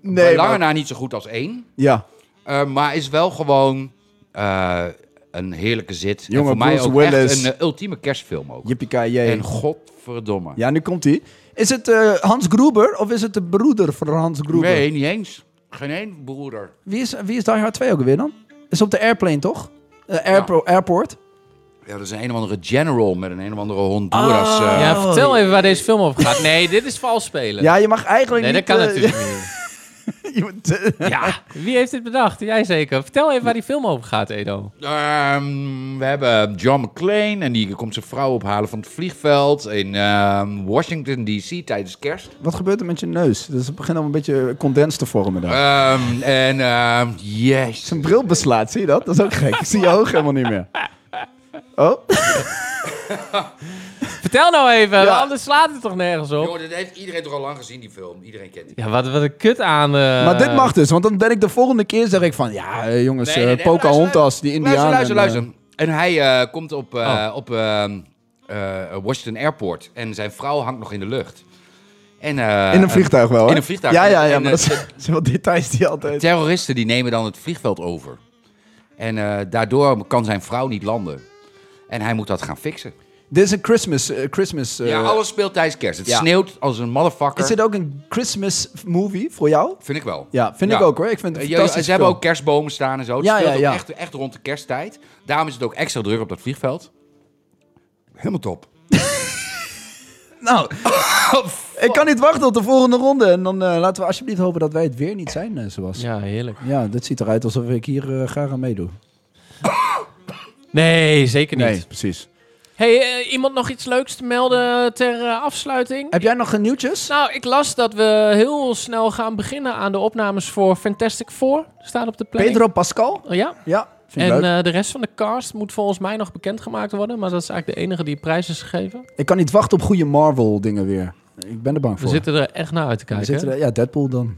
S3: Nee,
S4: maar langer
S3: maar-
S4: na niet zo goed als één.
S3: Ja.
S4: Eh, maar is wel gewoon eh, een heerlijke zit. En
S3: Jonge
S4: voor mij
S3: Bruce
S4: ook
S3: Willis.
S4: echt een eh, ultieme kerstfilm ook.
S3: Yippie-ki-yay.
S4: En godverdomme.
S3: Ja, nu komt hij. Is het eh, Hans Gruber of is het de broeder van Hans Gruber?
S4: nee, niet eens. Geen één broeder.
S3: Wie is, wie is Die Hard 2 ook weer dan? Is op de airplane, toch? Eh, airpo- Airport.
S4: Ja, dat is een of andere general met een een of andere
S3: Ah.
S4: Honduras. eh,
S2: Ja, vertel even waar deze film over gaat. Nee, dit is vals spelen.
S3: Oh, Ja, je mag eigenlijk
S2: nee, dat
S3: niet... eh,
S2: kan natuurlijk niet.
S3: je moet, eh,
S2: Ja, wie heeft dit bedacht? Jij zeker. Vertel even waar die film over gaat, Edo.
S4: Ehm, we hebben John McClane en die komt zijn vrouw ophalen van het vliegveld in ehm, Washington D.C. tijdens kerst.
S3: wat gebeurt er met je neus? Dus het begint al een beetje condens te vormen daar.
S4: Ehm, en ehm yes.
S3: Zijn bril beslaat, zie je dat? Dat is ook gek. Ik zie je ogen helemaal niet meer. Oh?
S2: Vertel nou even,
S3: Ja.
S2: anders slaat het toch nergens op?
S4: Joh, dit heeft iedereen toch al lang gezien, die film. Iedereen kent die.
S2: Ja, wat, wat een kut aan... eh,
S3: maar dit mag dus, want dan ben ik de volgende keer zeg ik van... Ja, eh, jongens,
S4: Nee, nee,
S3: eh,
S4: nee, maar
S3: Pocahontas, die
S4: Luister,
S3: Indianen.
S4: luister,
S3: en, eh, Oh.
S4: luister. En hij eh, komt op, eh, op ehm, eh, Washington Airport en zijn vrouw hangt nog in de lucht. En, eh,
S3: in een vliegtuig wel, hè?
S4: in een vliegtuig.
S3: Ja, ja, ja,
S4: En,
S3: maar
S4: eh,
S3: dat zijn- zijn wel details die altijd...
S4: Terroristen die nemen dan het vliegveld over. En eh, daardoor kan zijn vrouw niet landen. En hij moet dat gaan fixen.
S3: Dit is een Christmas... eh, Christmas eh,
S4: ja, oh, alles speelt tijdens kerst. Het
S3: ja.
S4: sneeuwt als een motherfucker.
S3: Is dit ook een Christmas movie voor jou?
S4: Vind ik wel.
S3: Ja, vind ik
S4: Ja.
S3: ook hoor. Ik vind
S4: Eh,
S3: het een
S4: je- Ze
S3: fantastisch
S4: hebben
S3: film.
S4: ook kerstbomen staan en zo. Het
S3: Ja,
S4: speelt
S3: ja,
S4: ook
S3: ja.
S4: Echt, echt rond de kersttijd. Daarom is het ook extra druk op dat vliegveld. Helemaal top.
S3: Nou, ik kan niet wachten tot de volgende ronde. En dan eh, laten we alsjeblieft hopen dat wij het weer niet zijn, eh, zoals. Sebas. Ja.
S2: Ja, heerlijk.
S3: dat ziet eruit alsof ik hier eh, graag aan meedoe.
S2: Nee, zeker niet.
S3: precies.
S2: Hey, eh, iemand nog iets leuks te melden ter eh, afsluiting?
S3: Heb jij nog eh, nieuwtjes?
S2: Nou, ik las dat we heel snel gaan beginnen aan de opnames voor Fantastic Four. Staat op de planning.
S3: Pedro Pascal?
S2: Oh, ja.
S3: Ja, vind ik
S2: En
S3: leuk.
S2: eh, de rest van de cast moet volgens mij nog bekendgemaakt worden. Maar dat is eigenlijk de enige die prijs is gegeven.
S3: ik kan niet wachten op goede Marvel dingen weer. Ik ben er bang
S2: We
S3: voor.
S2: zitten er echt naar uit te
S3: We
S2: kijken.
S3: zitten er- ja, Deadpool dan.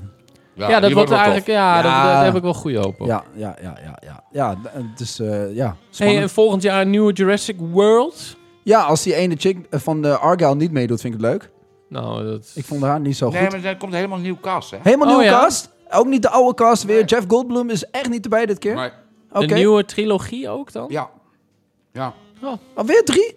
S4: Ja,
S2: ja, dat
S4: die
S2: wordt
S4: wel tof.
S2: eigenlijk. Ja,
S3: Ja.
S2: dat- Daar, heb ik wel goede hoop op.
S3: Ja, ja, ja, ja, ja. Ja, d- eh, dus eh, ja, spannend.
S2: Oh. Hey, en volgend jaar een nieuwe Jurassic World.
S3: ja, als die ene chick eh, van de Argyle niet meedoet, vind ik het leuk.
S2: Nou, dat.
S3: Ik vond haar niet zo goed.
S4: Nee, maar er komt helemaal een nieuw cast, hè?
S3: Helemaal
S2: Oh,
S3: nieuwe
S2: ja?
S3: cast. Ook niet de oude cast weer. Jeff Goldblum is echt niet erbij dit keer.
S4: Maar,
S3: Oké.
S2: Een nieuwe trilogie ook dan?
S4: ja. Ja.
S3: Maar weer drie?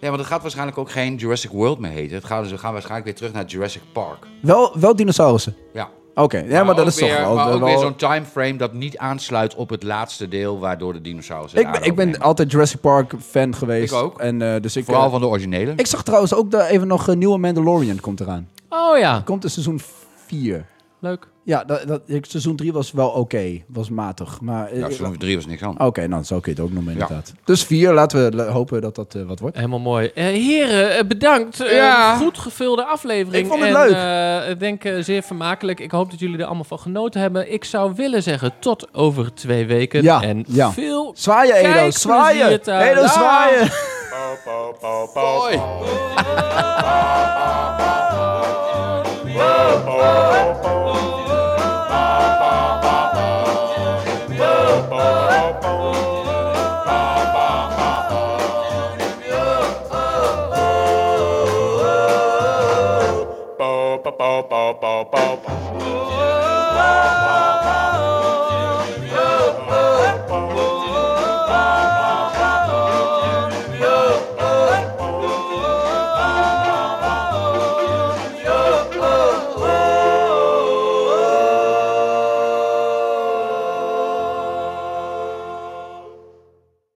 S4: Ja, want het gaat waarschijnlijk ook geen Jurassic World meer heten. Het gaat, dus, we gaan waarschijnlijk weer terug naar Jurassic Park.
S3: Wel, wel dinosaurussen.
S4: Ja.
S3: Oké, ja, maar, dat
S4: ook
S3: is toch
S4: weer-
S3: wel...
S4: Maar ook
S3: wel-
S4: weer zo'n timeframe dat niet aansluit op het laatste deel... waardoor de dinosaurus
S3: ik, ben, ik ben altijd Jurassic Park fan geweest.
S4: Ik ook.
S3: En, eh, dus ik,
S4: Vooral
S3: eh,
S4: van de originele.
S3: ik zag trouwens ook daar even nog een nieuwe Mandalorian komt eraan.
S2: Oh ja,
S3: Komt in seizoen 4.
S2: leuk.
S3: Ja, dat, dat, ik- seizoen 3 was wel oké. Was matig. Maar, eh,
S4: Ja,
S3: eh,
S4: seizoen 3 was niks aan.
S3: Oké, nou, zo kun je het ook noemen inderdaad. Dus 4, laten we la- hopen dat dat eh, wat wordt.
S2: Helemaal mooi. Eh, heren, eh, bedankt. Eh,
S4: Ja.
S2: goed gevulde aflevering.
S3: Ik vond het
S2: en,
S3: leuk.
S2: eh, ik denk eh, zeer vermakelijk. Ik hoop dat jullie er allemaal van genoten hebben. Ik zou willen zeggen tot over twee weken.
S3: Ja,
S2: en
S3: ja.
S2: veel
S3: Zwaaien, Edo,
S2: Kijk,
S3: zwaaien!
S2: plezier thuis.
S3: Edo,
S2: Ja.
S3: zwaaien!
S4: Hoi.
S1: bow, bow, bow, bow, bow, bow.
S5: oh,